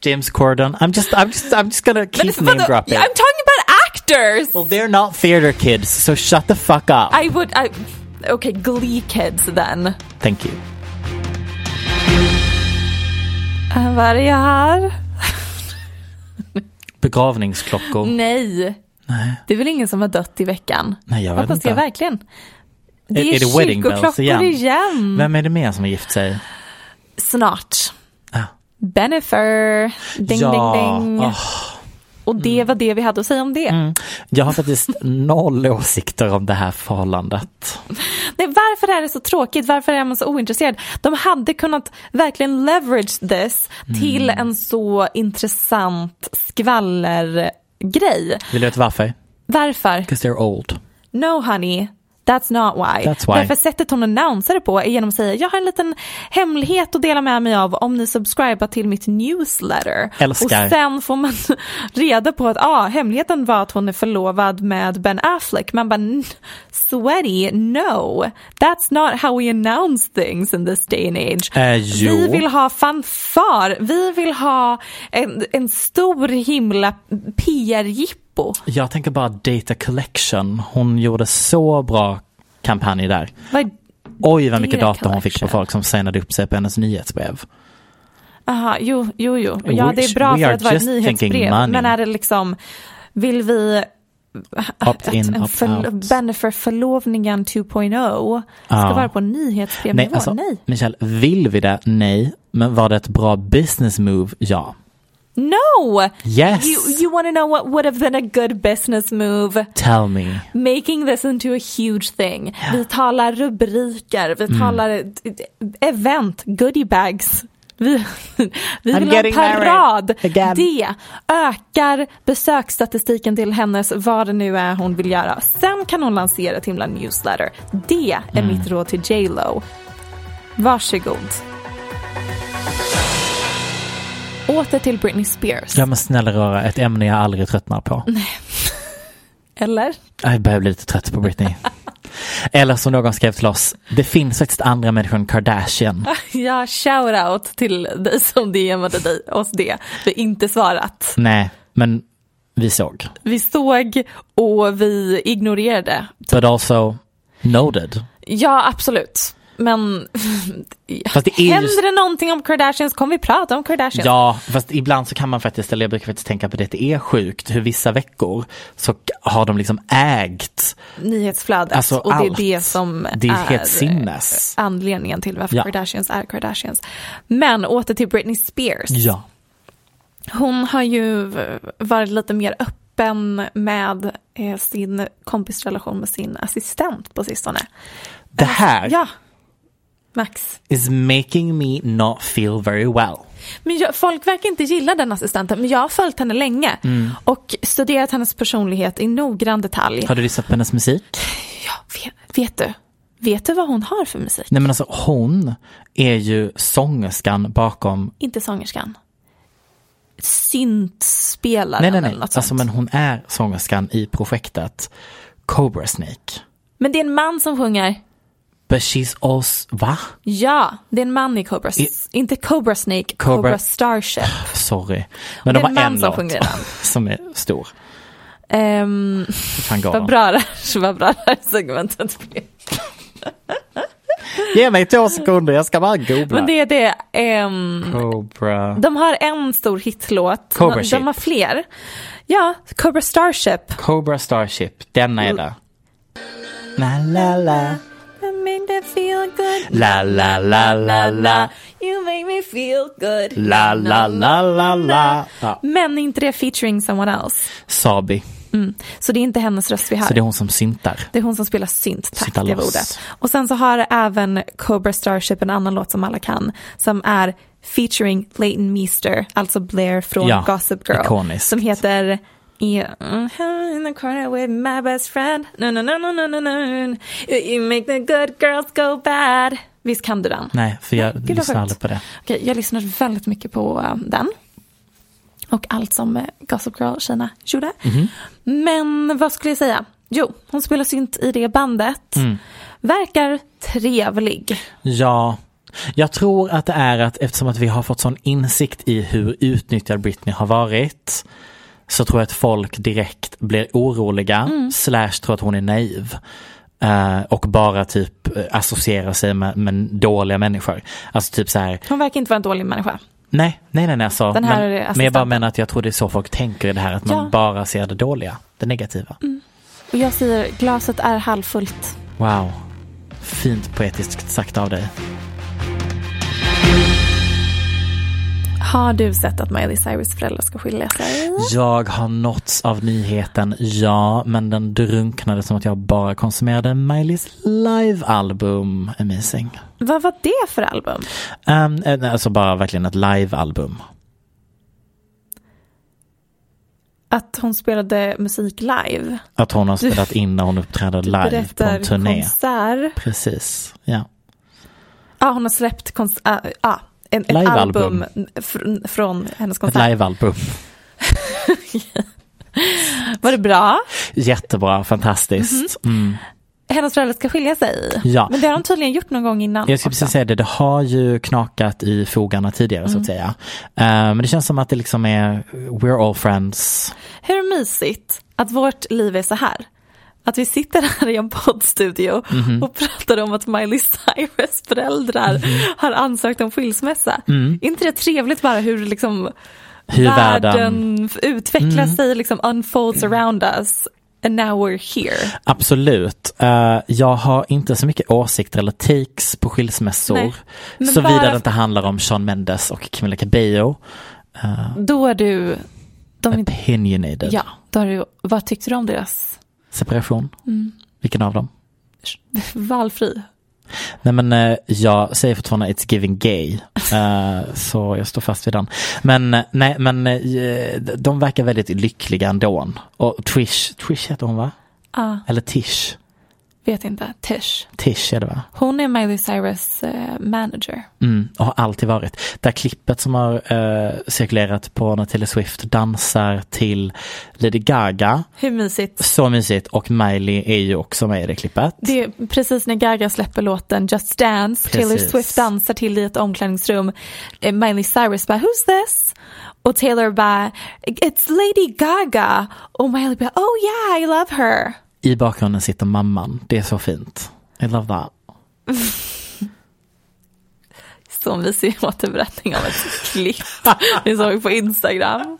S5: James Corden. I'm just, I'm just, I'm just gonna keep
S2: But
S5: name
S2: the-
S5: dropping.
S2: I'm talking about actors.
S5: Well, they're not theater kids, so shut the fuck up.
S2: I would, I, okay, Glee kids then.
S5: Thank you.
S2: Uh, vad är det jag har?
S5: Begravningsklockor.
S2: Nej. Det är väl ingen som har dött i veckan?
S5: Nej, jag vet
S2: Hoppas
S5: inte.
S2: jag verkligen. Det
S5: Är-
S2: är,
S5: är det wedding bells
S2: kyrkoklockor
S5: igen?
S2: igen.
S5: Vem är det mer som har gift sig?
S2: Snart. Bennifer. Ding,
S5: Ja, Mm.
S2: ding, ding. Och det var det vi hade att säga om det.
S5: Jag har faktiskt noll åsikter om det här förhållandet.
S2: Nej, varför är det så tråkigt? Varför är man så ointresserad? De hade kunnat verkligen leverage this till
S5: Mm.
S2: en så intressant skvallergrej.
S5: Vill du veta varför?
S2: Varför?
S5: Because they're old.
S2: No honey, That's not why.
S5: That's why.
S2: Därför sättet hon annonserar på är genom att säga jag har en liten hemlighet att dela med mig av om ni subscribar till mitt newsletter.
S5: Älskar.
S2: Och sen får man reda på att ah, hemligheten var att hon är förlovad med Ben Affleck. Man bara "N- sweaty, no. That's not how we announce things in this day and age.
S5: Eh,
S2: Vi
S5: jo.
S2: vill ha fanfar, vi vill ha en, en stor himla PR-jippo.
S5: Jag tänker bara Data Collection. Hon gjorde så bra kampanj där.
S2: Vad-
S5: Oj vad mycket
S2: Data
S5: data hon fick på
S2: Collection.
S5: folk som signade upp sig på hennes nyhetsbrev.
S2: Aha, jo, jo, jo. Ja,
S5: We-
S2: det är bra
S5: we
S2: för
S5: are
S2: att vara ett
S5: just thinking
S2: nyhetsbrev.
S5: money.
S2: Men är det liksom, vill vi
S5: Opt in,
S2: Ah, en
S5: opt out.
S2: förlo- för förlovningen 2.0 ska
S5: Ja.
S2: vara på en nyhetsbrevnivå?
S5: Nej,
S2: Nej,
S5: alltså,
S2: Nej.
S5: Michelle, vill vi det? Nej. Men var det ett bra business move? Ja.
S2: No!
S5: Yes!
S2: You, you want to know what would have been a good business move?
S5: Tell me.
S2: Making this into a huge thing. Vi talar rubriker,
S5: Mm.
S2: vi talar eh, event, goodie bags. Vi, vi vill ha en
S5: getting married
S2: parad.
S5: again.
S2: Det ökar besöksstatistiken till hennes, vad det nu är hon vill göra. Sen kan hon lansera ett himla newsletter. Det är
S5: Mm.
S2: mitt råd till J Lo. Varsågod. Åter till Britney Spears.
S5: Ja men snälla röra, ett ämne jag aldrig tröttnar på.
S2: Eller?
S5: Jag börjar bli lite trött på Britney. Eller som någon skrev till oss, det finns faktiskt andra människor än Kardashian.
S2: Ja, shoutout till dig som DMade dig, oss det. Vi har inte svarat.
S5: Nej, men vi såg.
S2: Vi såg och vi ignorerade.
S5: But also noted.
S2: Ja, absolut. Men
S5: Fast det är just...
S2: händer det någonting om Kardashians kommer vi prata om Kardashians.
S5: Ja, fast ibland så kan man faktiskt, eller jag brukar faktiskt tänka på det, det är sjukt hur vissa veckor så har de liksom ägt
S2: Nyhetsflödet
S5: Alltså,
S2: och det
S5: allt.
S2: är det som
S5: Det är
S2: är
S5: helt sinnes.
S2: anledningen till varför
S5: Ja.
S2: Kardashians är Kardashians. Men åter till Britney Spears.
S5: Ja.
S2: Hon har ju varit lite mer öppen med eh, sin kompisrelation med sin assistent på sistone.
S5: Det här
S2: Ja, Max.
S5: is making me not feel very well.
S2: Men jag, folk verkar inte gilla den assistenten, men jag har följt henne länge
S5: Mm.
S2: och studerat hennes personlighet i noggrann detalj.
S5: Har du lyssnat på hennes musik?
S2: Ja, vet, vet du? Vet du vad hon har för musik?
S5: Nej men alltså hon är ju sångerskan bakom,
S2: Inte sångerskan. Syntspelaren
S5: nej nej nej,
S2: eller något
S5: alltså
S2: sånt.
S5: men hon är sångerskan i projektet Cobra Snake.
S2: Men det är en man som sjunger.
S5: But she's also, va?
S2: Ja, det är en man i Cobra,
S5: I-
S2: inte Cobra Snake, Cobra,
S5: Cobra-
S2: Starship.
S5: Sorry. Men
S2: Det
S5: de
S2: är
S5: har
S2: en man
S5: en
S2: som
S5: låt
S2: sjunger den.
S5: som är stor.
S2: Ehm,
S5: Hur fan går
S2: vad
S5: den?
S2: bra det här, vad bra det här segmentet blev.
S5: Ge mig två sekunder, jag ska bara googla.
S2: Men det är det, ehm,
S5: Cobra.
S2: De har en stor hitlåt.
S5: Cobra
S2: de,
S5: Ship.
S2: de har fler. Ja, Cobra Starship.
S5: Cobra Starship, denna
S2: Mm.
S5: är det. La la la.
S2: You make me feel good.
S5: La la la la la.
S2: You make me feel good.
S5: La la la la la. Ja.
S2: Men inte det featuring someone else.
S5: Sabi,
S2: Så det är inte hennes röst vi hör.
S5: så det är hon som syntar.
S2: Det är hon som spelar synt, tack
S5: Sitta
S2: det var
S5: loss.
S2: ordet. Och sen så har även Cobra Starship en annan låt som alla kan, som är featuring Leighton Meester, alltså Blair från
S5: Ja,
S2: Gossip Girl.
S5: ikoniskt.
S2: Som heter Yeah, in the corner with my best friend, no no no no no no no, you make the good girls go bad. Visst kan du den?
S5: Nej, för jag
S2: Gud, vad
S5: lyssnar
S2: sjukt.
S5: aldrig på det.
S2: Okej, jag lyssnade väldigt mycket på eh, den. Och allt som eh, Gossip Girl-tjejerna gjorde.
S5: Mhm.
S2: Men vad skulle jag säga? Jo, hon spelar synt i det bandet.
S5: Mm.
S2: Verkar trevlig.
S5: Ja, jag tror att det är att eftersom att vi har fått sån insikt i hur utnyttjad Britney har varit så tror jag att folk direkt blir oroliga
S2: Mm.
S5: slash tror att hon är naiv. eh, och bara typ eh, associerar sig med, med dåliga människor. Alltså typ så här,
S2: Hon verkar inte vara en dålig människa.
S5: nej, nej, nej, nej alltså,
S2: Den här
S5: men, men jag bara
S2: assistenten.
S5: menar att jag tror det är så folk tänker i det här, att man
S2: Ja. Mm.
S5: bara ser det dåliga, det negativa.
S2: Och jag säger glaset är halvfullt.
S5: Wow, fint poetiskt sagt av dig.
S2: Har du sett att Miley Cyrus föräldrar ska skilja sig?
S5: Jag har nåtts av nyheten, ja, men den drunknade som att jag bara konsumerade Miley's live-album. Amazing.
S2: Vad var det för album?
S5: Um, eh, alltså bara verkligen ett live-album.
S2: att hon spelade musik live.
S5: Att hon har spelat in när hon uppträder live på en turné.
S2: konsert.
S5: Precis, ja.
S2: Ja, hon har släppt konst, ah, ah, en, ett
S5: Livealbum.
S2: album fr, från hennes
S5: Ett
S2: konsert.
S5: livealbum.
S2: Var det bra?
S5: Jättebra, fantastiskt. Mm.
S2: Hennes föräldrar ska skilja sig.
S5: Ja.
S2: Mhm. Men det har de tydligen gjort någon gång innan.
S5: Jag skulle precis
S2: också.
S5: säga det, det har ju knakat i fogarna tidigare så att
S2: Mm.
S5: säga. Eh, men det känns som att det liksom är we're all friends.
S2: Hur mysigt att vårt liv är så här. Att vi sitter här i en poddstudio
S5: Mhm.
S2: och pratar om att Miley Cyrus föräldrar
S5: Mhm.
S2: har ansökt om skilsmässa. Är inte det trevligt bara hur liksom
S5: Mm. Hur världen, Mm.
S2: världen utvecklas sig, liksom unfolds around us and now we're here.
S5: Absolut. Eh, jag har inte så mycket åsikter eller takes på skilsmässor.
S2: Nej. Men
S5: Såvida
S2: bara-
S5: det inte handlar om Sean Mendes och Camilla Cabello.
S2: Då är du, de är inte,
S5: Opinionated.
S2: ja, då är du, vad tyckte du om deras
S5: Separation.
S2: Mm.
S5: Vilken av dem?
S2: valfri?
S5: Nej men eh, jag säger fortfarande it's giving gay. Eh, så jag står fast vid den. Men eh, nej men eh, de verkar väldigt lyckliga ändå. Och Trish, Trish heter hon va?
S2: Ja,
S5: Eller Tish.
S2: vet inte, Tish.
S5: Tish är det va?
S2: Hon är Miley Cyrus eh, manager.
S5: Mm, och har alltid varit. Det här klippet som har eh, cirkulerat på när Taylor Swift dansar till Lady Gaga.
S2: Hur mysigt?
S5: Så mysigt och Miley är ju också med i det klippet.
S2: Det är precis när Gaga släpper låten Just Dance, Taylor
S5: Precis.
S2: Swift dansar till i ett omklädningsrum, Eh, Miley Cyrus bara “Who's this?” och Taylor bara “It's Lady Gaga” och Miley bara “Oh yeah, I love her”.
S5: I bakgrunden sitter mamman. Det är så fint. I love that.
S2: Så en mysig återberättning av ett klipp vi såg på Instagram.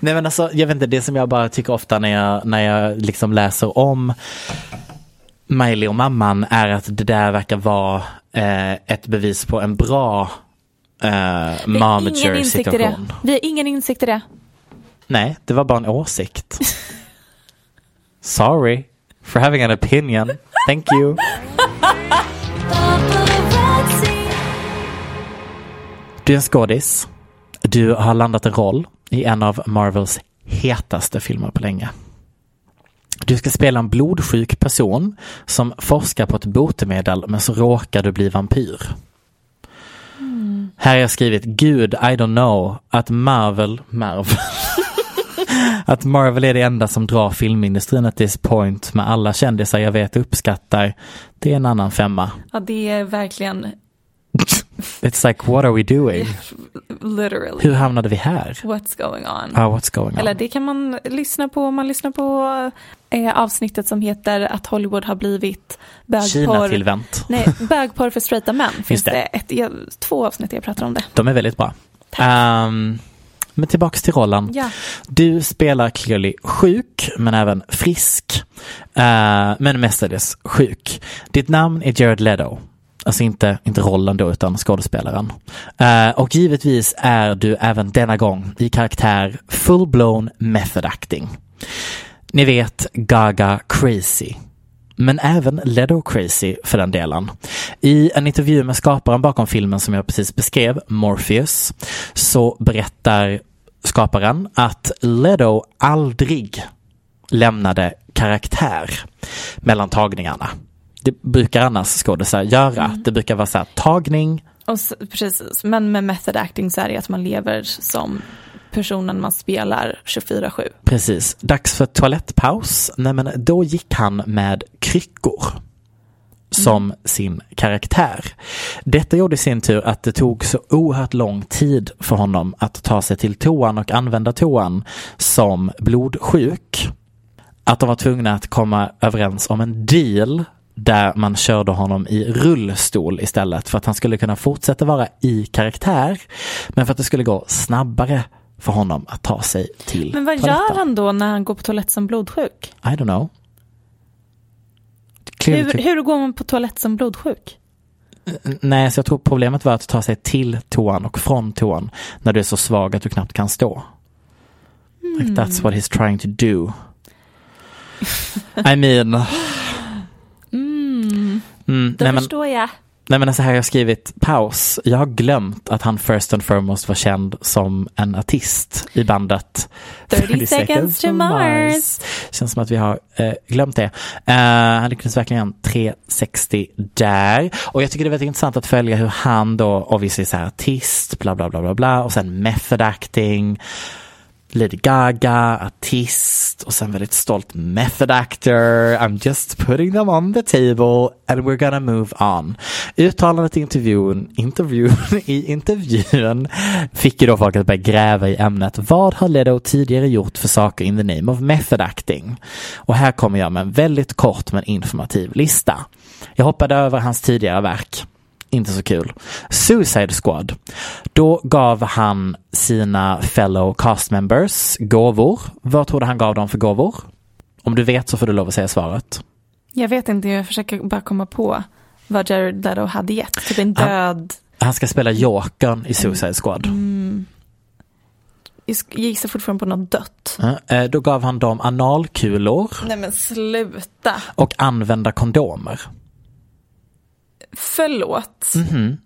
S5: Nej men alltså, jag vet inte, det som jag bara tycker ofta när jag, när jag liksom läser om Miley och mamman är att det där verkar vara eh, ett bevis på en bra
S2: Vi
S5: eh,
S2: har ingen
S5: momager
S2: insikt i det.
S5: situation.
S2: Vi har ingen insikt i det.
S5: Nej, det var bara en åsikt. Sorry for having an opinion. Thank you. Du är en skådis. Du har landat en roll i en av Marvels hetaste filmer på länge. Du ska spela en blodsjuk person som forskar på ett botemedel men så råkar du bli vampyr. Här har jag skrivit Gud, I don't know att Marvel, Marvel att Marvel är det enda som drar filmindustrin at this point med alla kändisar jag vet och uppskattar. Det är en annan femma.
S2: Ja, det är verkligen
S5: It's like what are we doing?
S2: literally
S5: Hur hamnade vi här?
S2: what's going on.
S5: Ah, what's going on?
S2: Eller det kan man lyssna på om man lyssnar på eh, avsnittet som heter att Hollywood har blivit
S5: Kina
S2: bögporr.
S5: tillvänt.
S2: Nej, bögporr för straighta män finns
S5: det.
S2: det. Ett, jag, två avsnitt där jag pratar om det.
S5: De är väldigt bra. Ehm, men tillbaks till rollen.
S2: Ja.
S5: Du spelar clearly sjuk, men även frisk. Eh, men mestadels sjuk. Ditt namn är Jared Leto. Alltså inte, inte rollen då, utan skådespelaren. Eh, och givetvis är du även denna gång i karaktär full-blown method acting. Ni vet Gaga Crazy. Men även Ledo Crazy för den delen. I en intervju med skaparen bakom filmen som jag precis beskrev, Morpheus, så berättar skaparen att Ledo aldrig lämnade karaktär mellan tagningarna. Det brukar annars skådisar göra. Det brukar vara så här, tagning,
S2: Och s- precis, men med method acting så är det att man lever som personen man spelar 24-7.
S5: Precis. Dags för toalettpaus. Nej, men då gick han med kryckor som sin karaktär. Detta gjorde i sin tur att det tog så oerhört lång tid för honom att ta sig till toan och använda toan som blodsjuk. Att de var tvungna att komma överens om en deal där man körde honom i rullstol istället för att han skulle kunna fortsätta vara i karaktär men för att det skulle gå snabbare för honom att ta sig till
S2: Men vad
S5: toaletten.
S2: gör han då när han går på toalett som blodsjuk?
S5: I don't know. Clearly
S2: Hur,
S5: took-
S2: hur går man på toalett som blodsjuk?
S5: Nej, så jag tror problemet var att ta sig till toan och från toan när du är så svag att du knappt kan stå. Like that's what he's trying to do. I mean. Mm, Mm,
S2: Då
S5: nej, men,
S2: förstår jag.
S5: Nej men alltså här har jag skrivit paus. Jag har glömt att han first and foremost var känd som en artist i bandet
S2: 30 seconds to Mars.
S5: Känns som att vi har eh, glömt det. Eh, han lyckades verkligen 360 där. Och jag tycker det är väldigt intressant att följa hur han då, obviously så här artist, bla bla bla bla bla och sen method acting. Lady Gaga, artist och sen väldigt stolt method actor. I'm just putting them on the table and we're gonna move on. Uttalandet i intervjun, intervjun i intervjun fick ju då folk att börja gräva i ämnet. Vad har Ledo tidigare gjort för saker in the name of method acting? Och här kommer jag med en väldigt kort men informativ lista. Jag hoppade över hans tidigare verk inte så kul. Suicide Squad. Då gav han sina fellow cast members gåvor. Vad tror du han gav dem för gåvor? Om du vet så får du lov att säga svaret.
S2: Jag vet inte, jag försöker bara komma på vad Jared Leto hade gett. Typ en
S5: Han-
S2: död,
S5: Han ska spela Jokern i Suicide Squad.
S2: jag sk- jag gissar fortfarande på något dött.
S5: Eh, Då gav han dem analkulor
S2: Nej men sluta.
S5: och använda kondomer.
S2: Förlåt.
S5: Mm.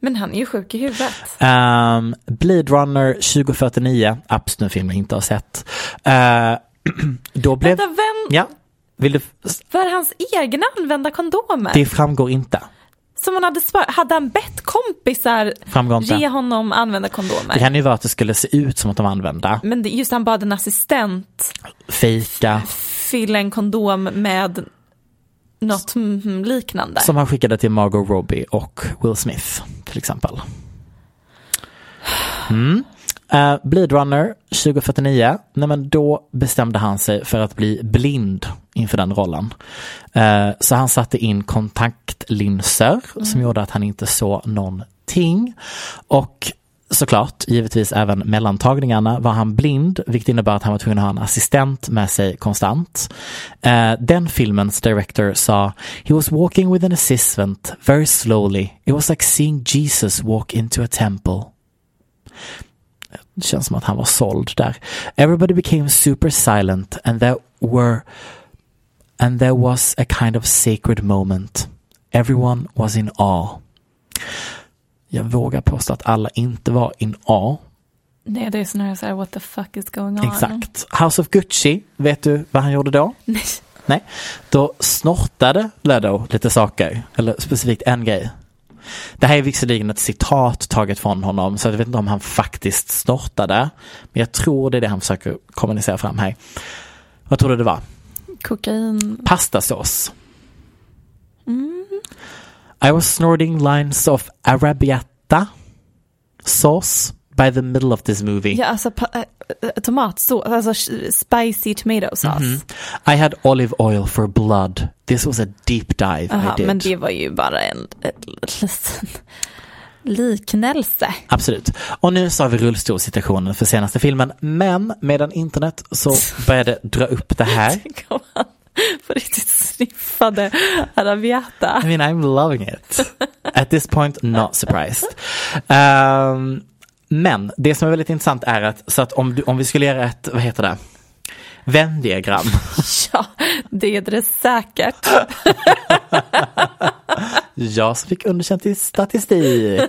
S2: Men han är ju sjuk i huvudet.
S5: Ehm, Blade Runner 2049, absolut en film jag inte har sett. Eh, Då blev...
S2: Vänta, vem
S5: Ja, vill du...
S2: var hans egna använda kondomer?
S5: Det framgår inte.
S2: Som han hade sparat, hade han bett kompisar
S5: Framgår inte.
S2: ge honom använda
S5: Det
S2: kondomer?
S5: kan ju vara att det skulle se ut som att de använda
S2: Men det, just han bad en assistent
S5: fejka
S2: fylla en kondom med något mm, liknande.
S5: som han skickade till Margot Robbie och Will Smith till exempel. Mm. Eh, Blade Runner 2049, nej men då bestämde han sig för att bli blind inför den rollen. Eh, så han satte in kontaktlinser som gjorde att han inte såg någonting. Och såklart, givetvis även mellantagningarna, var han blind, vilket innebar att han var tvungen att ha en assistent med sig konstant. Eh, den filmens director sa He was walking with an assistant very slowly. It was like seeing Jesus walk into a temple. Det känns som att han var såld där. Everybody became super silent and there were and there was a kind of sacred moment. Everyone was in awe. Jag vågar påstå att alla inte var in awe.
S2: Nej, det är snarare så här, what the fuck is going on?
S5: Exakt. House of Gucci, vet du vad han gjorde då?
S2: Nej.
S5: Nej. Då snortade Ledo lite saker, eller specifikt en grej. Det här är visserligen ett citat taget från honom, så jag vet inte om han faktiskt snortade. Men jag tror det är det han försöker kommunicera fram här. Vad tror du det var?
S2: Kokain.
S5: pastasås. I was snorting lines of arabiata sauce by the middle of this movie.
S2: Ja, alltså pa- äh, äh, tomatsås, alltså sh- spicy tomato sauce.
S5: Mhm. I had olive oil for blood. This was a deep dive I
S2: Aha,
S5: did.
S2: men det var ju bara en, en liten liknelse.
S5: Absolut. Och nu sa vi rullstolssituationen för senaste filmen, men medan internet så började dra upp det här.
S2: Tänk om han på riktigt sniffade arabiata.
S5: I mean, I'm loving it. At this point, not surprised. Ehm, men det som är väldigt intressant är att, så att om, du, om vi skulle göra ett, vad heter det, Venn-diagram.
S2: Ja, det är det säkert.
S5: Jag som fick underkänt i statistik.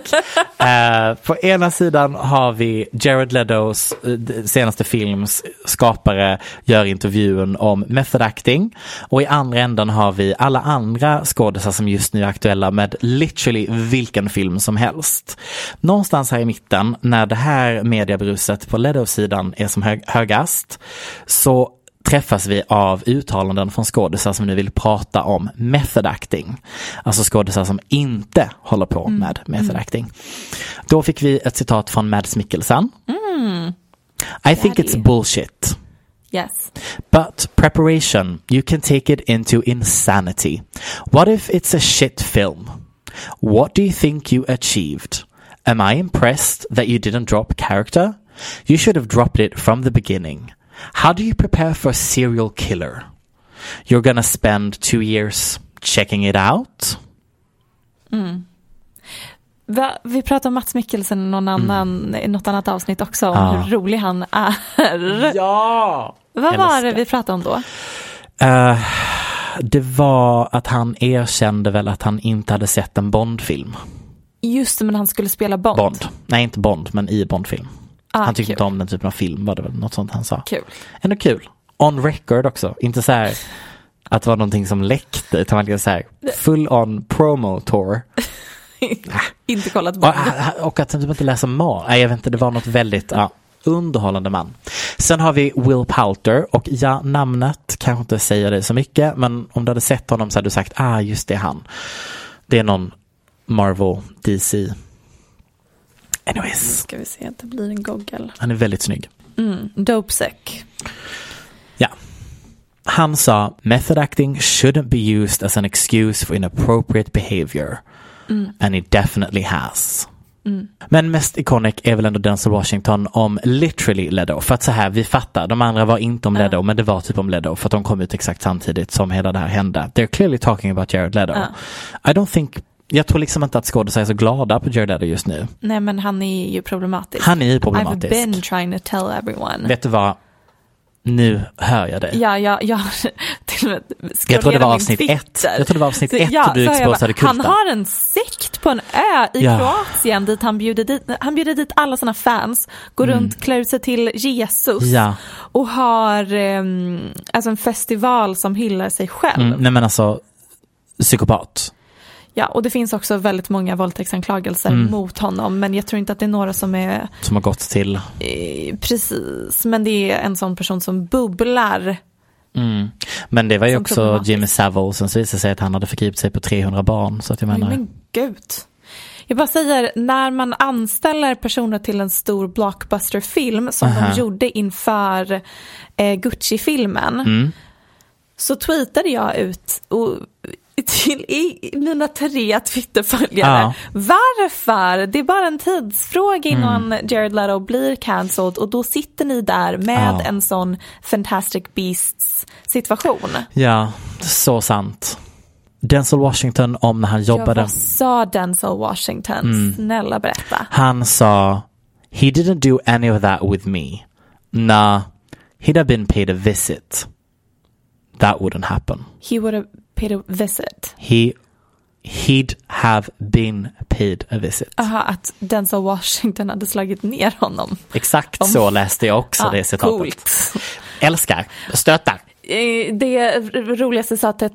S5: Eh, på ena sidan har vi Jared Letos eh, d- senaste films skapare gör intervjun om method acting. Och i andra änden har vi alla andra skådespelare som just nu är aktuella med literally vilken film som helst. Någonstans här i mitten, när det här mediebruset på Leto-sidan är som hög- högast, så träffas vi av uttalanden från skådisar som nu vill prata om method acting. Alltså skådisar som inte håller på med method acting. Då fick vi ett citat från Mads Mikkelsen. I think it's bullshit.
S2: Yes.
S5: But preparation, you can take it into insanity. What if it's a shit film? What do you think you achieved? Am I impressed that you didn't drop character? You should have dropped it from the beginning. How do you prepare for a serial killer? You're gonna spend two years checking it out?
S2: Va, vi pratade om Mats Mikkelsen i någon
S5: Mm.
S2: annan, i något annat avsnitt också, om hur rolig han är.
S5: Ja!
S2: Vad var
S5: älskar.
S2: det vi pratade om då?
S5: Det var att han erkände väl att han inte hade sett en Bondfilm.
S2: Just det, men han skulle spela Bond.
S5: Bond. Nej, inte Bond, men i Bondfilm.
S2: Ah,
S5: han tyckte
S2: kul.
S5: inte om den typen av film var det väl, något sånt han sa.
S2: Kul.
S5: Ändå kul. On record också, inte så här att det var någonting som läckte, utan verkligen så här full on promo tour. Äh.
S2: inte kollat
S5: Och,
S2: Bond.
S5: och att han typ inte läser mat. Nej, jag vet inte, det var något väldigt ja, underhållande man. Sen har vi Will Poulter och ja, namnet kanske inte säger dig så mycket, men om du hade sett honom så hade du sagt, ah, just det är han. Det är någon Marvel, DC. Anyways,
S2: Ska vi se att det blir en goggel.
S5: han är väldigt snygg.
S2: Dopesäck.
S5: Ja. Han sa method acting shouldn't be used as an excuse for inappropriate behavior.
S2: Mm.
S5: And it definitely has. Men mest iconic är väl ändå Denzel Washington om literally Leddo. För att så här, vi fattar, de andra var inte om Leddo, men det var typ om Leddo. För att de kom ut exakt samtidigt som hela det här hände. They're clearly talking about Jared Leddo. I don't think, jag tror liksom inte att skådisar är så glada på Jared Leddo just nu.
S2: Nej men han är ju problematisk.
S5: Han är ju
S2: I've
S5: problematisk.
S2: been trying to tell everyone.
S5: Vet du vad? Nu hör jag dig.
S2: Ja, ja, ja. Till och med
S5: Jag trodde det var
S2: scrollera
S5: avsnitt
S2: min
S5: ett.
S2: Twitter.
S5: Jag trodde det var avsnitt
S2: Så-
S5: ett
S2: ja,
S5: och du
S2: så jag
S5: exposade
S2: bara, Han
S5: kulten.
S2: har en sekt på en ö i
S5: Ja.
S2: Kroatien dit han bjuder dit, han bjuder dit alla sina fans, går runt, klär ut sig till Jesus
S5: Mm. Ja.
S2: och har ehm, alltså en festival som hyllar sig själv.
S5: Mm, nej men alltså, psykopat.
S2: Ja, och det finns också väldigt många våldtäktsanklagelser
S5: Mm.
S2: mot honom men jag tror inte att det är några som är
S5: Som har gått till...
S2: eh, precis, men det är en sån person som bubblar
S5: Men det var ju
S2: Som
S5: också
S2: problematisk.
S5: Jimmy Savile, sen så visade det sig att han hade förgripit sig på 300 barn. Så att jag
S2: Nej,
S5: menar,
S2: men gud. Jag bara säger, när man anställer personer till en stor blockbusterfilm som
S5: Aha.
S2: de gjorde inför eh, Gucci-filmen
S5: Mm.
S2: så tweetade jag ut och, till i, mina tre Twitter-följare
S5: Ja. Mm.
S2: varför? Det är bara en tidsfråga innan Jared Leto blir cancelled och då sitter ni där med
S5: Ja.
S2: en sån Fantastic Beasts situation.
S5: ja, så sant. Denzel Washington om när han
S2: Jag
S5: jobbade,
S2: bara, sa Denzel Washington,
S5: Mm.
S2: snälla berätta.
S5: han sa He didn't do any of that with me. Nah, he'd have been paid a visit. That wouldn't happen.
S2: He would have paid a visit.
S5: He, he'd have been paid a visit.
S2: Aha, att Denzel Washington hade slagit ner honom.
S5: Exakt så läste jag också
S2: Ah,
S5: det citatet.
S2: coolt.
S5: Älskar, stötar.
S2: Eh, Det roligaste citatet,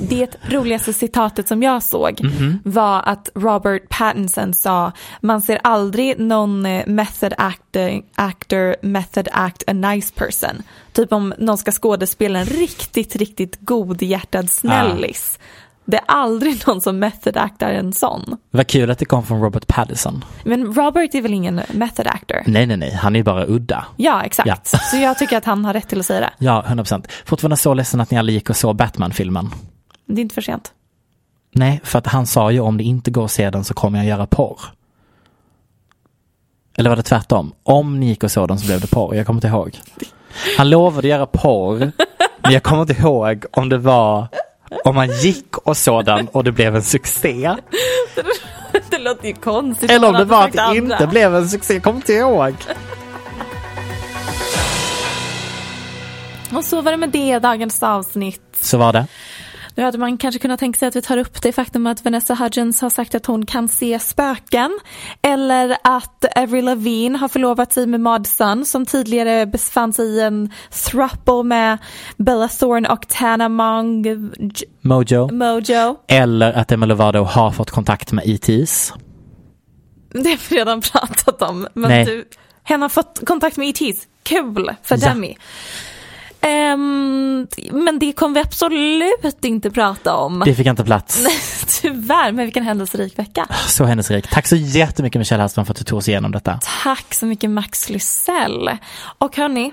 S2: det roligaste citatet som jag såg
S5: Mhm.
S2: var att Robert Pattinson sa man ser aldrig någon eh, method actor, actor method act a nice person. Typ om någon ska skådespela en riktigt, riktigt
S5: Ah.
S2: godhjärtad snällis. Det är aldrig någon som method actar en sån.
S5: Vad kul att det kom från Robert Pattinson.
S2: Men Robert är väl ingen method actor?
S5: Nej, nej, nej, han är ju bara udda.
S2: Ja, exakt.
S5: Ja.
S2: Så jag tycker att han har rätt till att säga det.
S5: Ja, 100%. Fortfarande så ledsen att ni aldrig gick och såg Batman-filmen.
S2: Det är inte för sent.
S5: Nej, för att han sa ju om det inte går att se den så kommer jag göra porr. Eller var det tvärtom? Om ni gick och såg den så blev det porr, jag kommer inte ihåg. Han lovade göra porr, men jag kommer inte ihåg om det var om man gick och såg den och det blev en succé.
S2: Det låter ju konstigt.
S5: Eller om det
S2: Han
S5: var att
S2: försökte
S5: det
S2: andra.
S5: inte blev en succé, jag kommer inte ihåg.
S2: Och så var det med det dagens avsnitt.
S5: Så var det.
S2: Nu hade man kanske kunnat tänka sig att vi tar upp det faktum att Vanessa Hudgens har sagt att hon kan se spöken. Eller att Avril Lavigne har förlovat sig med Madsen som tidigare befann sig i en throuple med Bella Thorne och Tana Mong J-
S5: Mojo.
S2: Mojo.
S5: Eller att Emma Lovato har fått kontakt med E ETs.
S2: Det har vi redan pratat om. Men
S5: Nej.
S2: du, hen har fått kontakt med ETs. Kul för
S5: Ja.
S2: Demi. Ehm, men det kommer vi absolut inte prata om.
S5: Det fick inte plats.
S2: Tyvärr, men vilken händelserik vecka.
S5: Så händelserik. Tack så jättemycket Michelle Hallström för att du tog oss igenom detta.
S2: Tack så mycket Max Lysell. Och hörni,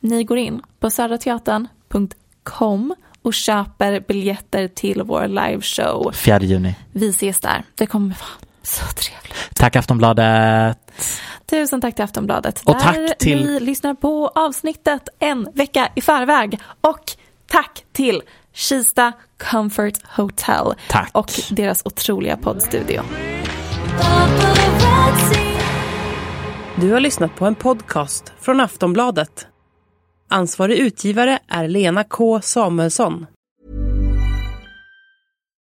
S2: ni går in på södrateatern.com och köper biljetter till vår liveshow.
S5: 4 juni.
S2: Vi ses där. Det kommer vara så trevligt.
S5: Tack Aftonbladet.
S2: Tusen tack till Aftonbladet.
S5: Och tack
S2: där
S5: till-
S2: ni lyssnar på avsnittet en vecka i förväg. Och tack till Kista Comfort Hotel.
S5: Tack.
S2: Och deras otroliga poddstudio.
S6: Du har lyssnat på en podcast från Aftonbladet. Ansvarig utgivare är Lena K Samuelsson.